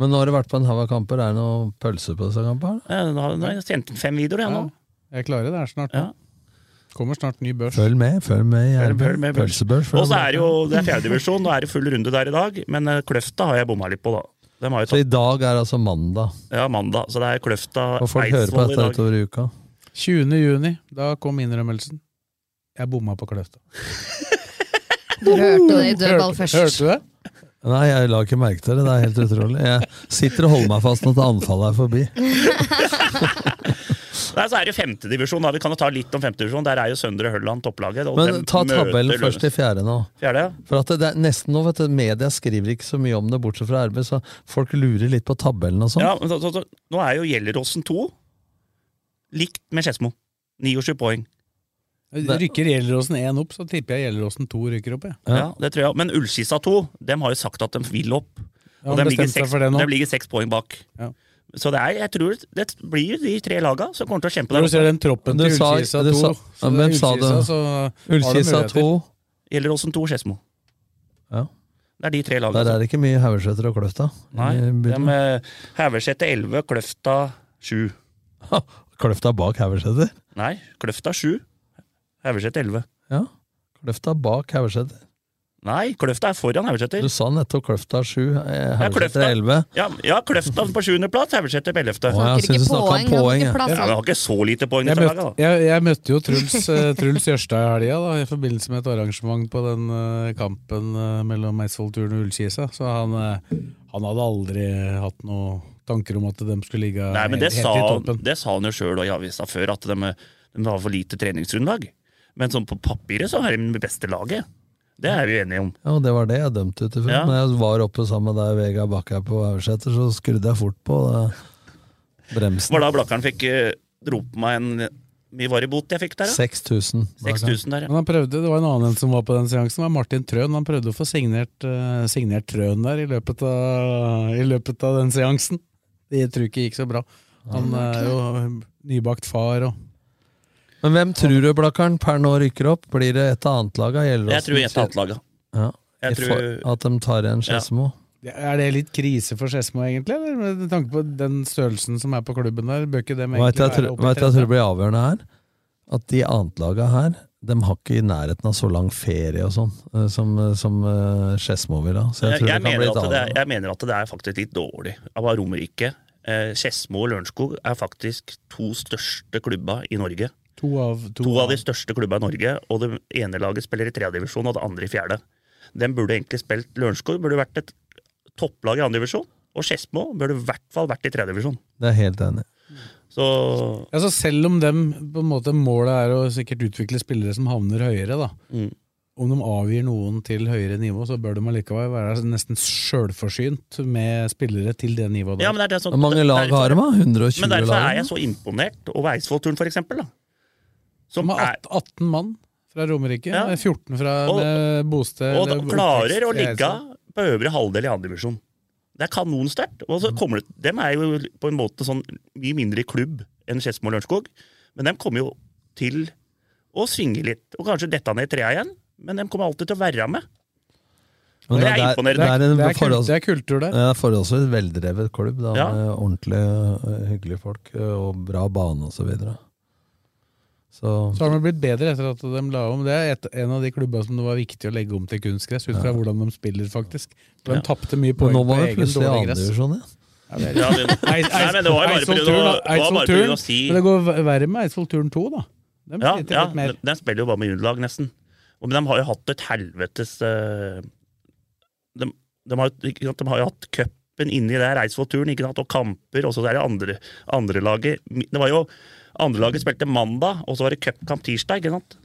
Men nå har du vært på en haug av kamper. Er det noe pølse på disse kampene?
eh, nå har nå har jeg sendt inn fem videoer, jeg nå.
Jeg klarer det her snart. nå. Kommer snart ny børs.
Følg med, følg med. i
Følg-
Gjerpen.
følg med, følg.
Pølsebørs. følg
Og så
med.
er det jo det er fjerdedivisjon, nå er det full runde der i dag. Men eh, Kløfta har jeg bomma litt på, da. De har jo
Så i
tatt,
dag er altså mandag,
ja, mandag. Så det er Kløfta
og folk hører på
Eidsvoll i
dette
dag.
utover uka.
20. juni, da kom innrømmelsen. Jeg bomma på Kløfta.
Dere hørte det i dødball
Hørte,
først.
hørte du det?
Nei, jeg la ikke merke til det. Det er helt utrolig. Jeg sitter og holder meg fast når anfallet er forbi.
Nei, så er det femtedivisjon. da. Vi kan jo ta litt om femtedivisjon. Der er jo Søndre Hølland topplaget. og
Men
dem
ta
møter
tabellen
Lørenskog.
først i fjerde nå.
Fjerde, ja.
For at det er nesten nå, vet du, Media skriver ikke så mye om det, bortsett fra RB, så folk lurer litt på tabellen og sånn.
Ja, men så, så, så, nå er jo Gjelleråsen 2 likt med Skedsmo. 29 poeng.
Rykker Gjelleråsen én opp, så tipper jeg Gjelleråsen to rykker opp. Jeg.
Ja. det tror jeg. Men Ullskissa 2 dem har jo sagt at de vil opp.
Ja,
Og
de
de ligger,
bestemte seg
seks,
for det nå.
de ligger seks poeng bak. Så det er, jeg tror det blir de tre laga som kommer til å kjempe
Når du ser den troppen til
Du sa-
Ullkisa
du
2
sa-
så
hvem
det er
sa du?
Ullkisa, så har de
Ullkisa
muligheter.
2.
Gjelleråsen 2 Skedsmo.
Ja.
Det er de tre lagene.
Der er
som-
det ikke mye Haugesæter og Kløfta.
Nei,
i
de
bildet.
eh, Haugeseter 11, Kløfta 7.
Kløfta bak Haugesæter?
Nei, Kløfta 7. Haugeseter 11.
Ja. Kløfta bak Haugesæter.
Nei, Kløfta er foran Haugeseter.
Du sa nettopp Kløfta eh, 7,
Ja,
Haugesæter 11.
Ja, ja, Kløfta på 7. plass, Haugeseter på 11.
Å, jeg Snakker synes ikke du snakket om poeng, han poeng, snakker ja. plass,
Ja,
han.
men
altså.
han har ikke så lite poeng
Jeg
dette laget,
møtte,
da.
jeg, jeg møtte jo Truls, eh, Truls Jørstad i helga, da, i forbindelse med et arrangement på den eh, kampen eh, mellom Eidsvollturen og Ullkisa. Så han, eh, han hadde aldri hatt noen tanker om at de skulle ligge
Nei, men det
helt
sa,
i
han-
toppen.
det sa han jo sjøl i avisa før, at de, de har for lite treningsgrunnlag. Men sånn på papiret så er de det beste laget. Det er vi enige om.
Ja, og det var det jeg dømte ut ifra.
Ja.
Når jeg var oppe sammen med deg, Vegard Bakke, her på Haugesæter, så skrudde jeg fort på da,
Det var
bremsen.
da Blakkaren fikk eh, dro på meg en Mye var i bot jeg fikk der, da?
6000.
6000 der, ja.
Men han prøvde, Det var en annen som var på den seansen, det var Martin Trøen. Han prøvde å få signert, eh, signert Trøen der i løpet, av, i løpet av den seansen. Det tror jeg ikke gikk så bra. Han
Ja.
er jo nybakt far og
Men hvem tror du, Blakkaren, per nå rykker opp? Blir det et av annet lag?
Jeg tror et annet lag, ja.
Ja.
Jeg
I
tror-
for- At de tar igjen Skedsmo?
Er det litt krise for Skedsmo, egentlig? Eller? Med tanke på den størrelsen som er på klubben der. Bør ikke dem
Vet du hva jeg
egentlig være
tror- vet
oppe i
du hva jeg tror
tredje?
blir avgjørende her? At de antlaga her, de har ikke i nærheten av så lang ferie og sånn eh, som, eh, som eh, Skedsmo vil ha. Så
Jeg, jeg,
jeg tror det kan bli
mener
et
at det er,
annet.
jeg mener at det er faktisk litt dårlig av Romerike. Eh, Skedsmo og Lørenskog er faktisk to største klubba i Norge.
To av,
To, av de største klubba i Norge, og det ene laget spiller i tredje divisjon, og det andre i fjerde. Den burde egentlig spilt Lørenskog burde vært et topplag i andre divisjon, og Skedsmo burde i hvert fall vært i tredje divisjon.
Det er jeg helt enig. i.
Så
Altså, selv om dem, på en måte, målet er å sikkert utvikle spillere som havner høyere, da. Om de avgir noen til høyere nivå, så bør de allikevel være nesten sjølforsynt med spillere til det nivået der.
Ja, men det er det som-
Hvor mange lag
derfor-
har de, da? 120
Men derfor
lag,
er jeg
da?
så imponert over Eidsvollturen, for eksempel. Da. Som
De har
er,
18 mann fra Romerike,
Ja.
med 14 fra
Og-
med bosted
og da,
eller
klarer
oppvekst
å
i
ligge
Eidsvoll.
på øvre halvdel i andre divisjon. Det er kanonsterkt. Og så kommer det, dem er jo på en måte sånn mye mindre klubb enn Skedsmo og Lørenskog, men dem kommer jo til å svinge litt. Og kanskje dette ned i trea igjen, men dem kommer alltid til å være med.
Men
Jeg er imponert.
det, en
Det er kult-
forholds-
det er kultur der.
Det er forholdsvis veldrevet klubb, da,
Ja.
med ordentlig eh, hyggelige folk eh, og bra bane og Så, videre. så
Så har de blitt bedre etter at de la om. Det er et, en av de klubba som det var viktig å legge om til kunstgress, ut fra hvordan de spiller, faktisk. De
Ja.
tapte mye
Og
poeng
nå
på
var vi
egen
plutselig i
dårlig
andre
gress.
divisjon igjen.
Ja, det er-
Ja, det- Nei, men det var jo bare
Eidsvoll
fordi det
Turn,
var-
da.
det var bare fordi
Eidsvoll
det
Turn.
var si-
Men det går ver- verre med Eidsvoll Turn 2, da. De
Ja,
sliter
ja
litt
de,
mer.
de spiller jo bare med juniorlag, nesten. Og, men de har jo hatt et helvetes eh, de, de, har, jo- ikke sant, de har jo hatt cupen inni der, Eidsvoll-turen, ikke sant, og kamper, og så er det andre, andre laget Det var jo Andrelaget spilte mandag, og så var det cupkamp tirsdag. ikke sant?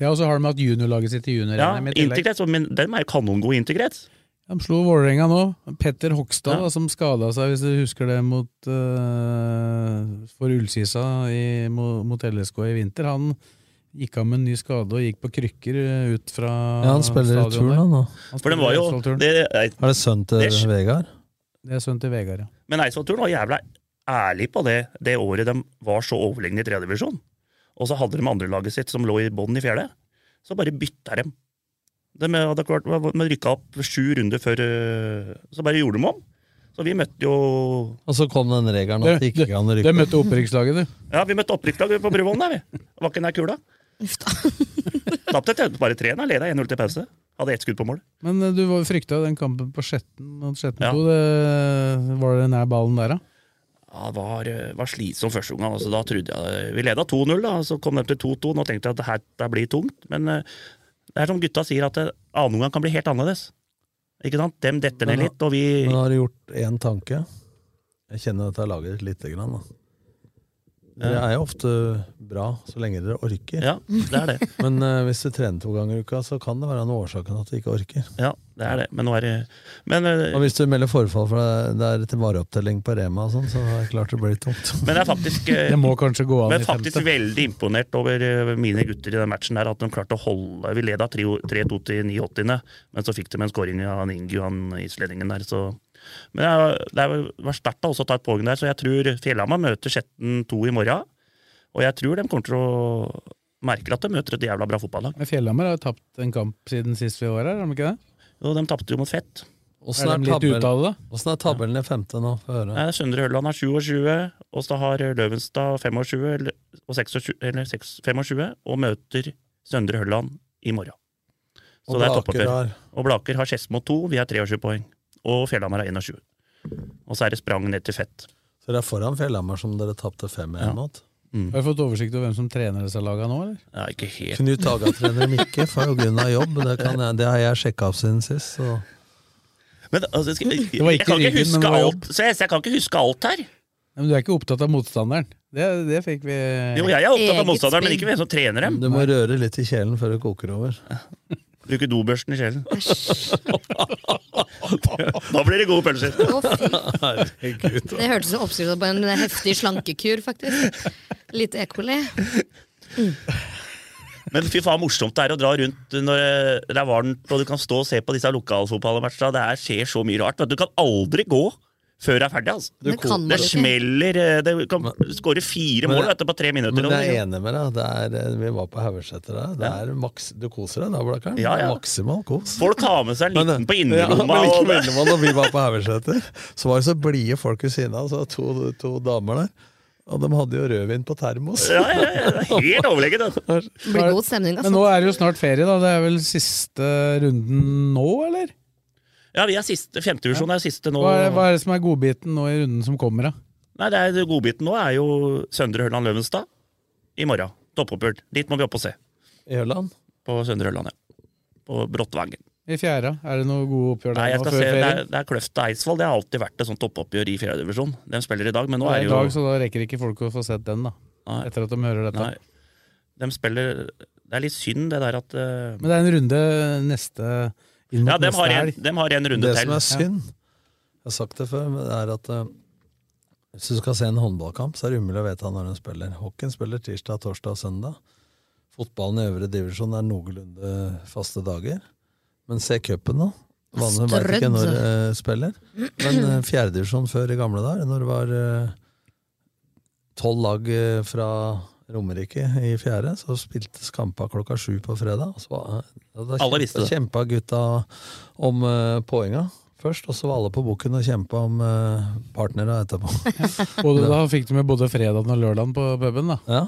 Ja, og så har de hatt juniorlaget sitt i junior
Ja,
NM i tillegg.
Integrets, og- men de er jo kanongode i Integrets.
De slo Vålerenga nå. Petter Hogstad,
Ja.
da, som skada seg, hvis du husker det, mot, eh, for Ullkisa i, mo- mot LSK i vinter. Han gikk av med en ny skade og gikk på krykker eh, ut fra
Ja, han spiller i turn, han nå.
For de var jo det,
Er det sønnen til
Det-
Vegard?
Det er sønnen til Vegard, ja.
Men Eidsvoll-turen var jævla ærlig på det det året de var så overlegne i tredje divisjon. Og så hadde de andrelaget sitt som lå i bånn i fjerde. Så bare bytta dem. De hadde klart, de rykka opp sju runder før øh, Så bare gjorde de om. Så vi møtte jo
Og så kom den regelen at det ikke kan rykke opp.
opprykkslaget, du.
Ja, vi møtte opprykkslaget på Bruvollen der, vi. Det Var ikke nær kula. Tapte til- bare tre, da. Leda 1-0 til pause. Hadde ett skudd på mål.
Men eh, du var- frykta den kampen på Skjetten mot Skjetten
Ja.
2. Det, var det nær ballen der, da?
Ja, det var, eh, var slitsom første omgang. Altså, da trodde jeg Vi leda 2-0, da, så kom de til 2-2. Nå tenkte jeg at det her det blir tungt. Men eh, det er som gutta sier, at eh, annen omgang kan bli helt annerledes. Ikke sant? Dem detter ned
Men da-
litt, og vi
Men har du gjort én tanke? Jeg kjenner at jeg lager et lite grann. Da. Dere
Ja.
er jo ofte bra så lenge dere orker.
Ja, det er det.
Men eh, hvis du trener to ganger i uka, så kan det være noe årsaken at du ikke orker.
Ja, det er det. Men nå er det Men, eh,
Og hvis du melder forfall for det- det er til vareopptelling på Rema og sånn, så er det klart det blir tomt.
men jeg er faktisk, eh,
Det må kanskje gå an
men
i
faktisk
femte.
veldig imponert over eh, mine gutter i den matchen. der At de klarte å holde Vi leda 3-2 til 89., men så fikk de en scoring av Ingu, han islendingen der. Så. Men jeg, det er- var sterkt også å ta et poeng der, så jeg tror Fjellhamar møter Skjetten 2 i morgen. Og jeg tror de kommer til å merke at de møter et jævla bra fotballag.
Men Fjellhammer har jo tapt en kamp siden sist vi var her, har de ikke det?
Jo, de tapte jo mot Fett.
Åssen
Er
er,
de litt ute av
tabellen-
det?
Åssen er tabellen i femte nå? Få høre.
Nei, Søndre Hørland har 27, og så har Løvenstad 25 eller- og 26, eller 6, 25, og møter Søndre Hørland i morgen. Så
Og
det er
Blaker
toppoppgjør.
har-
Og Blaker har Skedsmo 2, vi har 23 poeng. Og Fjellhamar har 21. Og så er det sprang ned til Fett.
Så dere er foran Fjellhammer, som dere tapte 5-1
Ja. Mm.
mot?
Har du fått oversikt over hvem som trener disse lagene nå, eller?
Ja, ikke helt.
Knut Haga trener Mikke for jo grunn av jobb. Det, kan jeg, det har jeg sjekka opp siden sist. Så.
Men altså, skal, jeg,
Det var ikke
jeg kan ikke
ryggen, men
huske
det var
alt, så jeg, så jeg kan ikke huske alt her.
Nei, Men du er ikke opptatt av motstanderen. Det, det fikk vi
Jo, jeg er opptatt av motstanderen, men ikke hvem som trener dem.
Du må røre litt i kjelen før det koker over.
Bruke dobørsten i kjelen. da blir det gode pølser.
Herregud.
Det hørtes jo oppskrift ut på en heftig slankekur, faktisk. Litt E. coli. Mm.
Men fy faen morsomt det er å dra rundt når det er varmt og du kan stå og se på disse lokalfotballmatchene. Det er, skjer så mye rart. men Du kan aldri gå før det er ferdig. altså.
Men kan man
det
ikke?
smeller. eh, Det du kan skåre fire
Men-
mål vet du, på tre minutter.
Men jeg er
eller noe.
enig med deg. Det er, vi var på Haugeseter der. Det er maks, du koser deg da, Blakkaren.
Ja, ja.
Maksimal kos.
Folk har med seg en liten på
Ja,
innerlomma.
men ikke
og-
mellom meg, når vi var på Haugeseter, så var det så blide folk ved siden av. Så var det to, to damer der. Og de hadde jo rødvin på termos.
ja, ja, ja, det er helt overlegent. altså.
Det blir god stemning,
Men
altså.
nå er det jo snart ferie, da. Det er vel siste runden nå, eller?
Ja, vi er siste, Femtevisjon er siste nå.
Hva er, hva er det som er godbiten nå i runden som kommer, da?
Nei, det er, Godbiten nå er jo Søndre Hørland Løvenstad i morgen. Toppoppgjør. Dit må vi opp og se.
I Ørland.
På Søndre Hørland, ja. På Brottvangen.
I fjerde? Er det noe gode oppgjør
Nei,
der
jeg
nå
skal
før
se, det,
ferien?
er, det er Kløfta Eidsvoll. Det har alltid vært et sånt toppoppgjør i fjerdedivisjon. De spiller i dag, men nå
Det
er
er
det
i
jo
dag, så da rekker ikke folk å få sett den, da.
Nei.
Etter at de hører dette.
Nei. De spiller Det er litt synd, det der at eh,
Men det er en runde neste inn mot
Ja, de
neste
har, en,
helg.
dem har en runde
det
til.
som er synd, jeg har sagt det før, men det er at eh, hvis du skal se en håndballkamp, så er det umulig å vite når den spiller. Hockeyen spiller tirsdag, torsdag og søndag. Fotballen i øvre divisjon er noenlunde faste dager. Men se cupen nå. Vanligvis veit ikke
Strødd.
når det spiller. Men eh, fjerdedivisjon før i gamle dager, når det var eh, tolv lag eh, fra Romerike i fjerde, så spiltes kampa klokka sju på fredag. og Så var, ja,
Alle
da kjempa-
visste det.
kjempa gutta om eh, poenga først, og så var alle på boken og kjempa om uh, partnere etterpå.
Både, da fikk de med både fredagen og lørdagen på puben, da.
ja.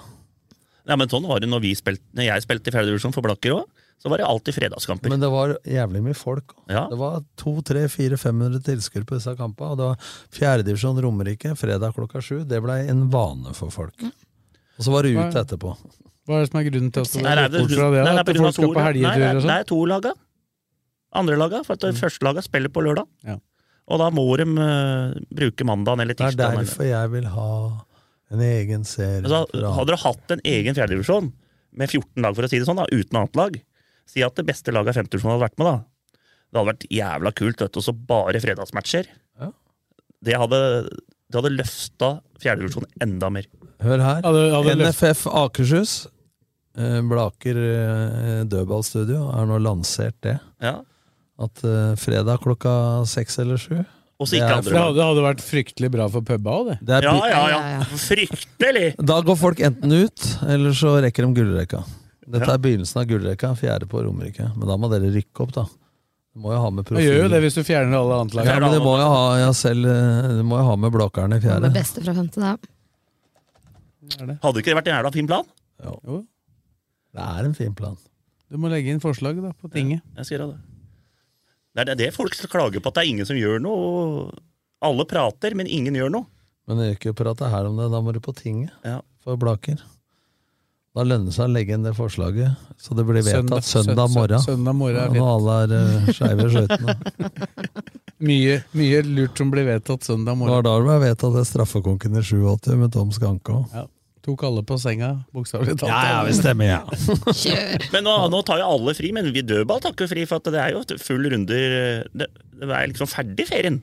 Ja, men sånn var det når, vi spilte, når jeg spilte i fjerdedivisjon for Blakker òg. Så var det alltid fredagskamper.
Men det var jævlig mye folk.
Ja.
Det var 200-500 tilskuere på disse kampene. Og det var fjerdedivisjon Romerike fredag klokka sju. Det blei en vane for folk.
Mm.
Og så var det ut etterpå.
Hva er det som er grunnen til at det
Nei, nei,
er
det,
bort fra det?
nei,
da?
det er på
At
grunn av
folk skal
to-
på
nei, det
helgeturer
er-
og
det
sånn?
er to laga. Andre laga. For at det første laga spiller på lørdag.
Ja.
Og da må de eh, bruke mandagen eller
Det er
tirsdagen. eller-
derfor jeg vil ha en egen serie.
Altså,
fra-
hadde du hatt en egen fjerdedivisjon med 14 lag, for å si det sånn, da, uten annet lag Si at det beste laget av femtedivisjonen hadde vært med, da. Det hadde vært jævla kult, vet du, og så bare fredagsmatcher.
Ja.
Det hadde, det hadde løfta fjerdedivisjonen enda mer.
Hør her.
Hadde- hadde løft-
NFF Akershus. eh, Blaker eh, dødballstudio har nå lansert det.
Ja.
At eh, fredag klokka seks eller sju
Og så
Det
ikke
er
andre
Det
lag.
hadde, det hadde vært fryktelig bra for puba òg, det.
det er
Ja,
pi-
ja, ja. Fryktelig!
Da går folk enten ut, eller så rekker de gullrekka. Dette er begynnelsen av gullrekka, fjerde på Romerike. Men da må dere rykke opp, da. Du må jo ha med
Man gjør jo det
profiler.
hvis du fjerner alle annet lag.
Ja, men du må jo ha, ja, selv, eh, du må jo ha med Blakkaren i
Det
fjerde.
beste fra femte, da.
Hadde ikke det vært en jævla fin plan?
Jo,
Det er en fin plan.
du må legge inn forslag da, på tinget.
Jeg sier det. Det er det- det folk klager på, at det er ingen som gjør noe. Alle prater, men ingen gjør noe.
Men det gjør ikke å prate her om det, da må du på tinget
Ja.
for Blaker. Da lønner det seg å legge inn det forslaget, så det blir vedtatt søndag,
søn-
morgen.
Søndag morgen er
Når alle er eh, skeive i skøytene.
mye, mye lurt som blir vedtatt søndag
Det var
morgen.
da det ble vedtatt det straffekonken i 87 med Tom Skanke òg.
Ja. Tok alle på senga, bokstavelig talt.
Ja, ja, det stemmer, ja.
Men nå, nå tar jo alle fri, men vi dødball tar ikke fri, for at det er jo et full runde Det, det er liksom ferdig ferien.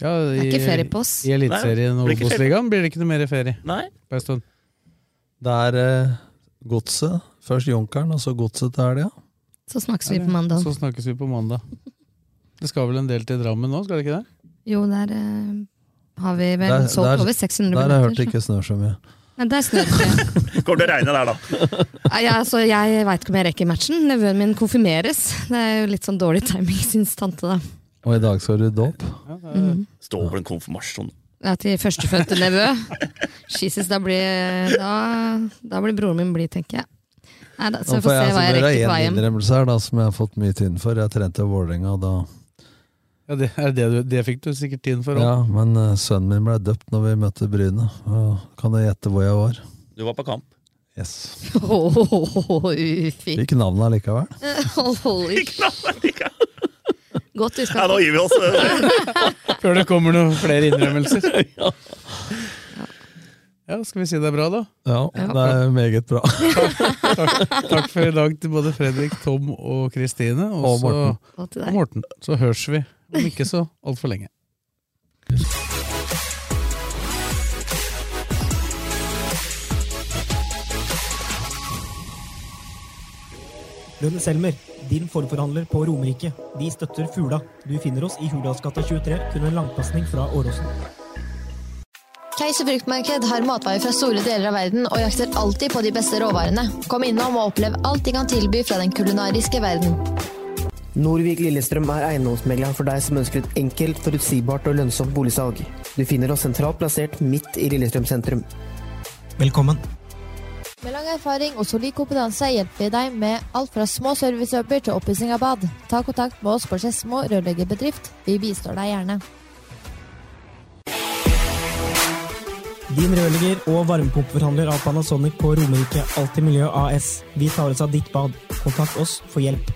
Ja, i,
Det er ikke ferie på oss.
I Eliteserien
Nei,
og
det blir ikke
Obos-ligaen blir det ikke noe mer ferie.
Nei.
På en stund.
Det er eh, godset. Først Junkeren, og så godset til helga.
Så snakkes vi på mandag.
Så snakkes vi på mandag. Det skal vel en del til Drammen nå, skal det ikke det?
Jo, der eh, har vi vel
Der-
solgt
der-
over 600
Der har jeg hørt det
billetter. så-
ikke snør så mye.
Nei, der snør det ikke.
Kommer til å regne der, da.
Nei, altså, jeg veit ikke om jeg rekker matchen. Nevøen min konfirmeres. Det er jo litt sånn dårlig timing, syns tante, da.
Og i dag skal du i dåp.
Mhm.
Stå over en konfirmasjon.
Ja, til førstefødte nevø. Jesus, da blir, da, da blir broren min blid, tenker jeg. Nei, da, så
Nå
vi får
får
se hva
altså,
jeg rekker
dere
på
har
vei
én
hjem.
innrømmelse her da, som jeg har fått mye tynn for. Jeg trente i Vålerenga da.
Ja, det, er det, du, det fikk du sikkert tiden for.
Ja,
også.
men eh, sønnen min ble døpt når vi møtte Bryne. Og kan du gjette hvor jeg var?
Du var på kamp.
Yes.
Åh, ufint.
Fikk navnet allikevel.
Holy Godt huska.
Ja, nå gir vi oss.
Før det kommer noen flere innrømmelser. Ja, skal vi si det er bra, da?
Ja, det er meget bra.
Takk for i dag til både Fredrik, Tom og Kristine.
Og
så-
Morten.
Og til deg.
Og Morten. Så høres vi om ikke så altfor lenge.
Lønn-Selmer, din forforhandler på Romerike. Vi støtter Fula. Du finner oss i Hurdalsgata 23, kun en langpasning fra Åråsen.
Keiser fruktmarked har matvarer fra store deler av verden og jakter alltid på de beste råvarene. Kom innom og opplev alt de kan tilby fra den kulinariske verden.
Norvik Lillestrøm er eiendomsmegleren for deg som ønsker et enkelt, forutsigbart og lønnsomt boligsalg. Du finner oss sentralt plassert midt i Lillestrøm sentrum.
Velkommen.
Med lang erfaring og solid kompetanse hjelper vi deg med alt fra små servicejobber til oppussing av bad. Ta kontakt med oss på Skedsmo rørleggerbedrift. Vi bistår deg gjerne.
Din rørlegger og varmepumpeforhandler av Panasonic på Romerike Alltid Miljø AS. Vi tar oss av ditt bad. Kontakt oss for hjelp.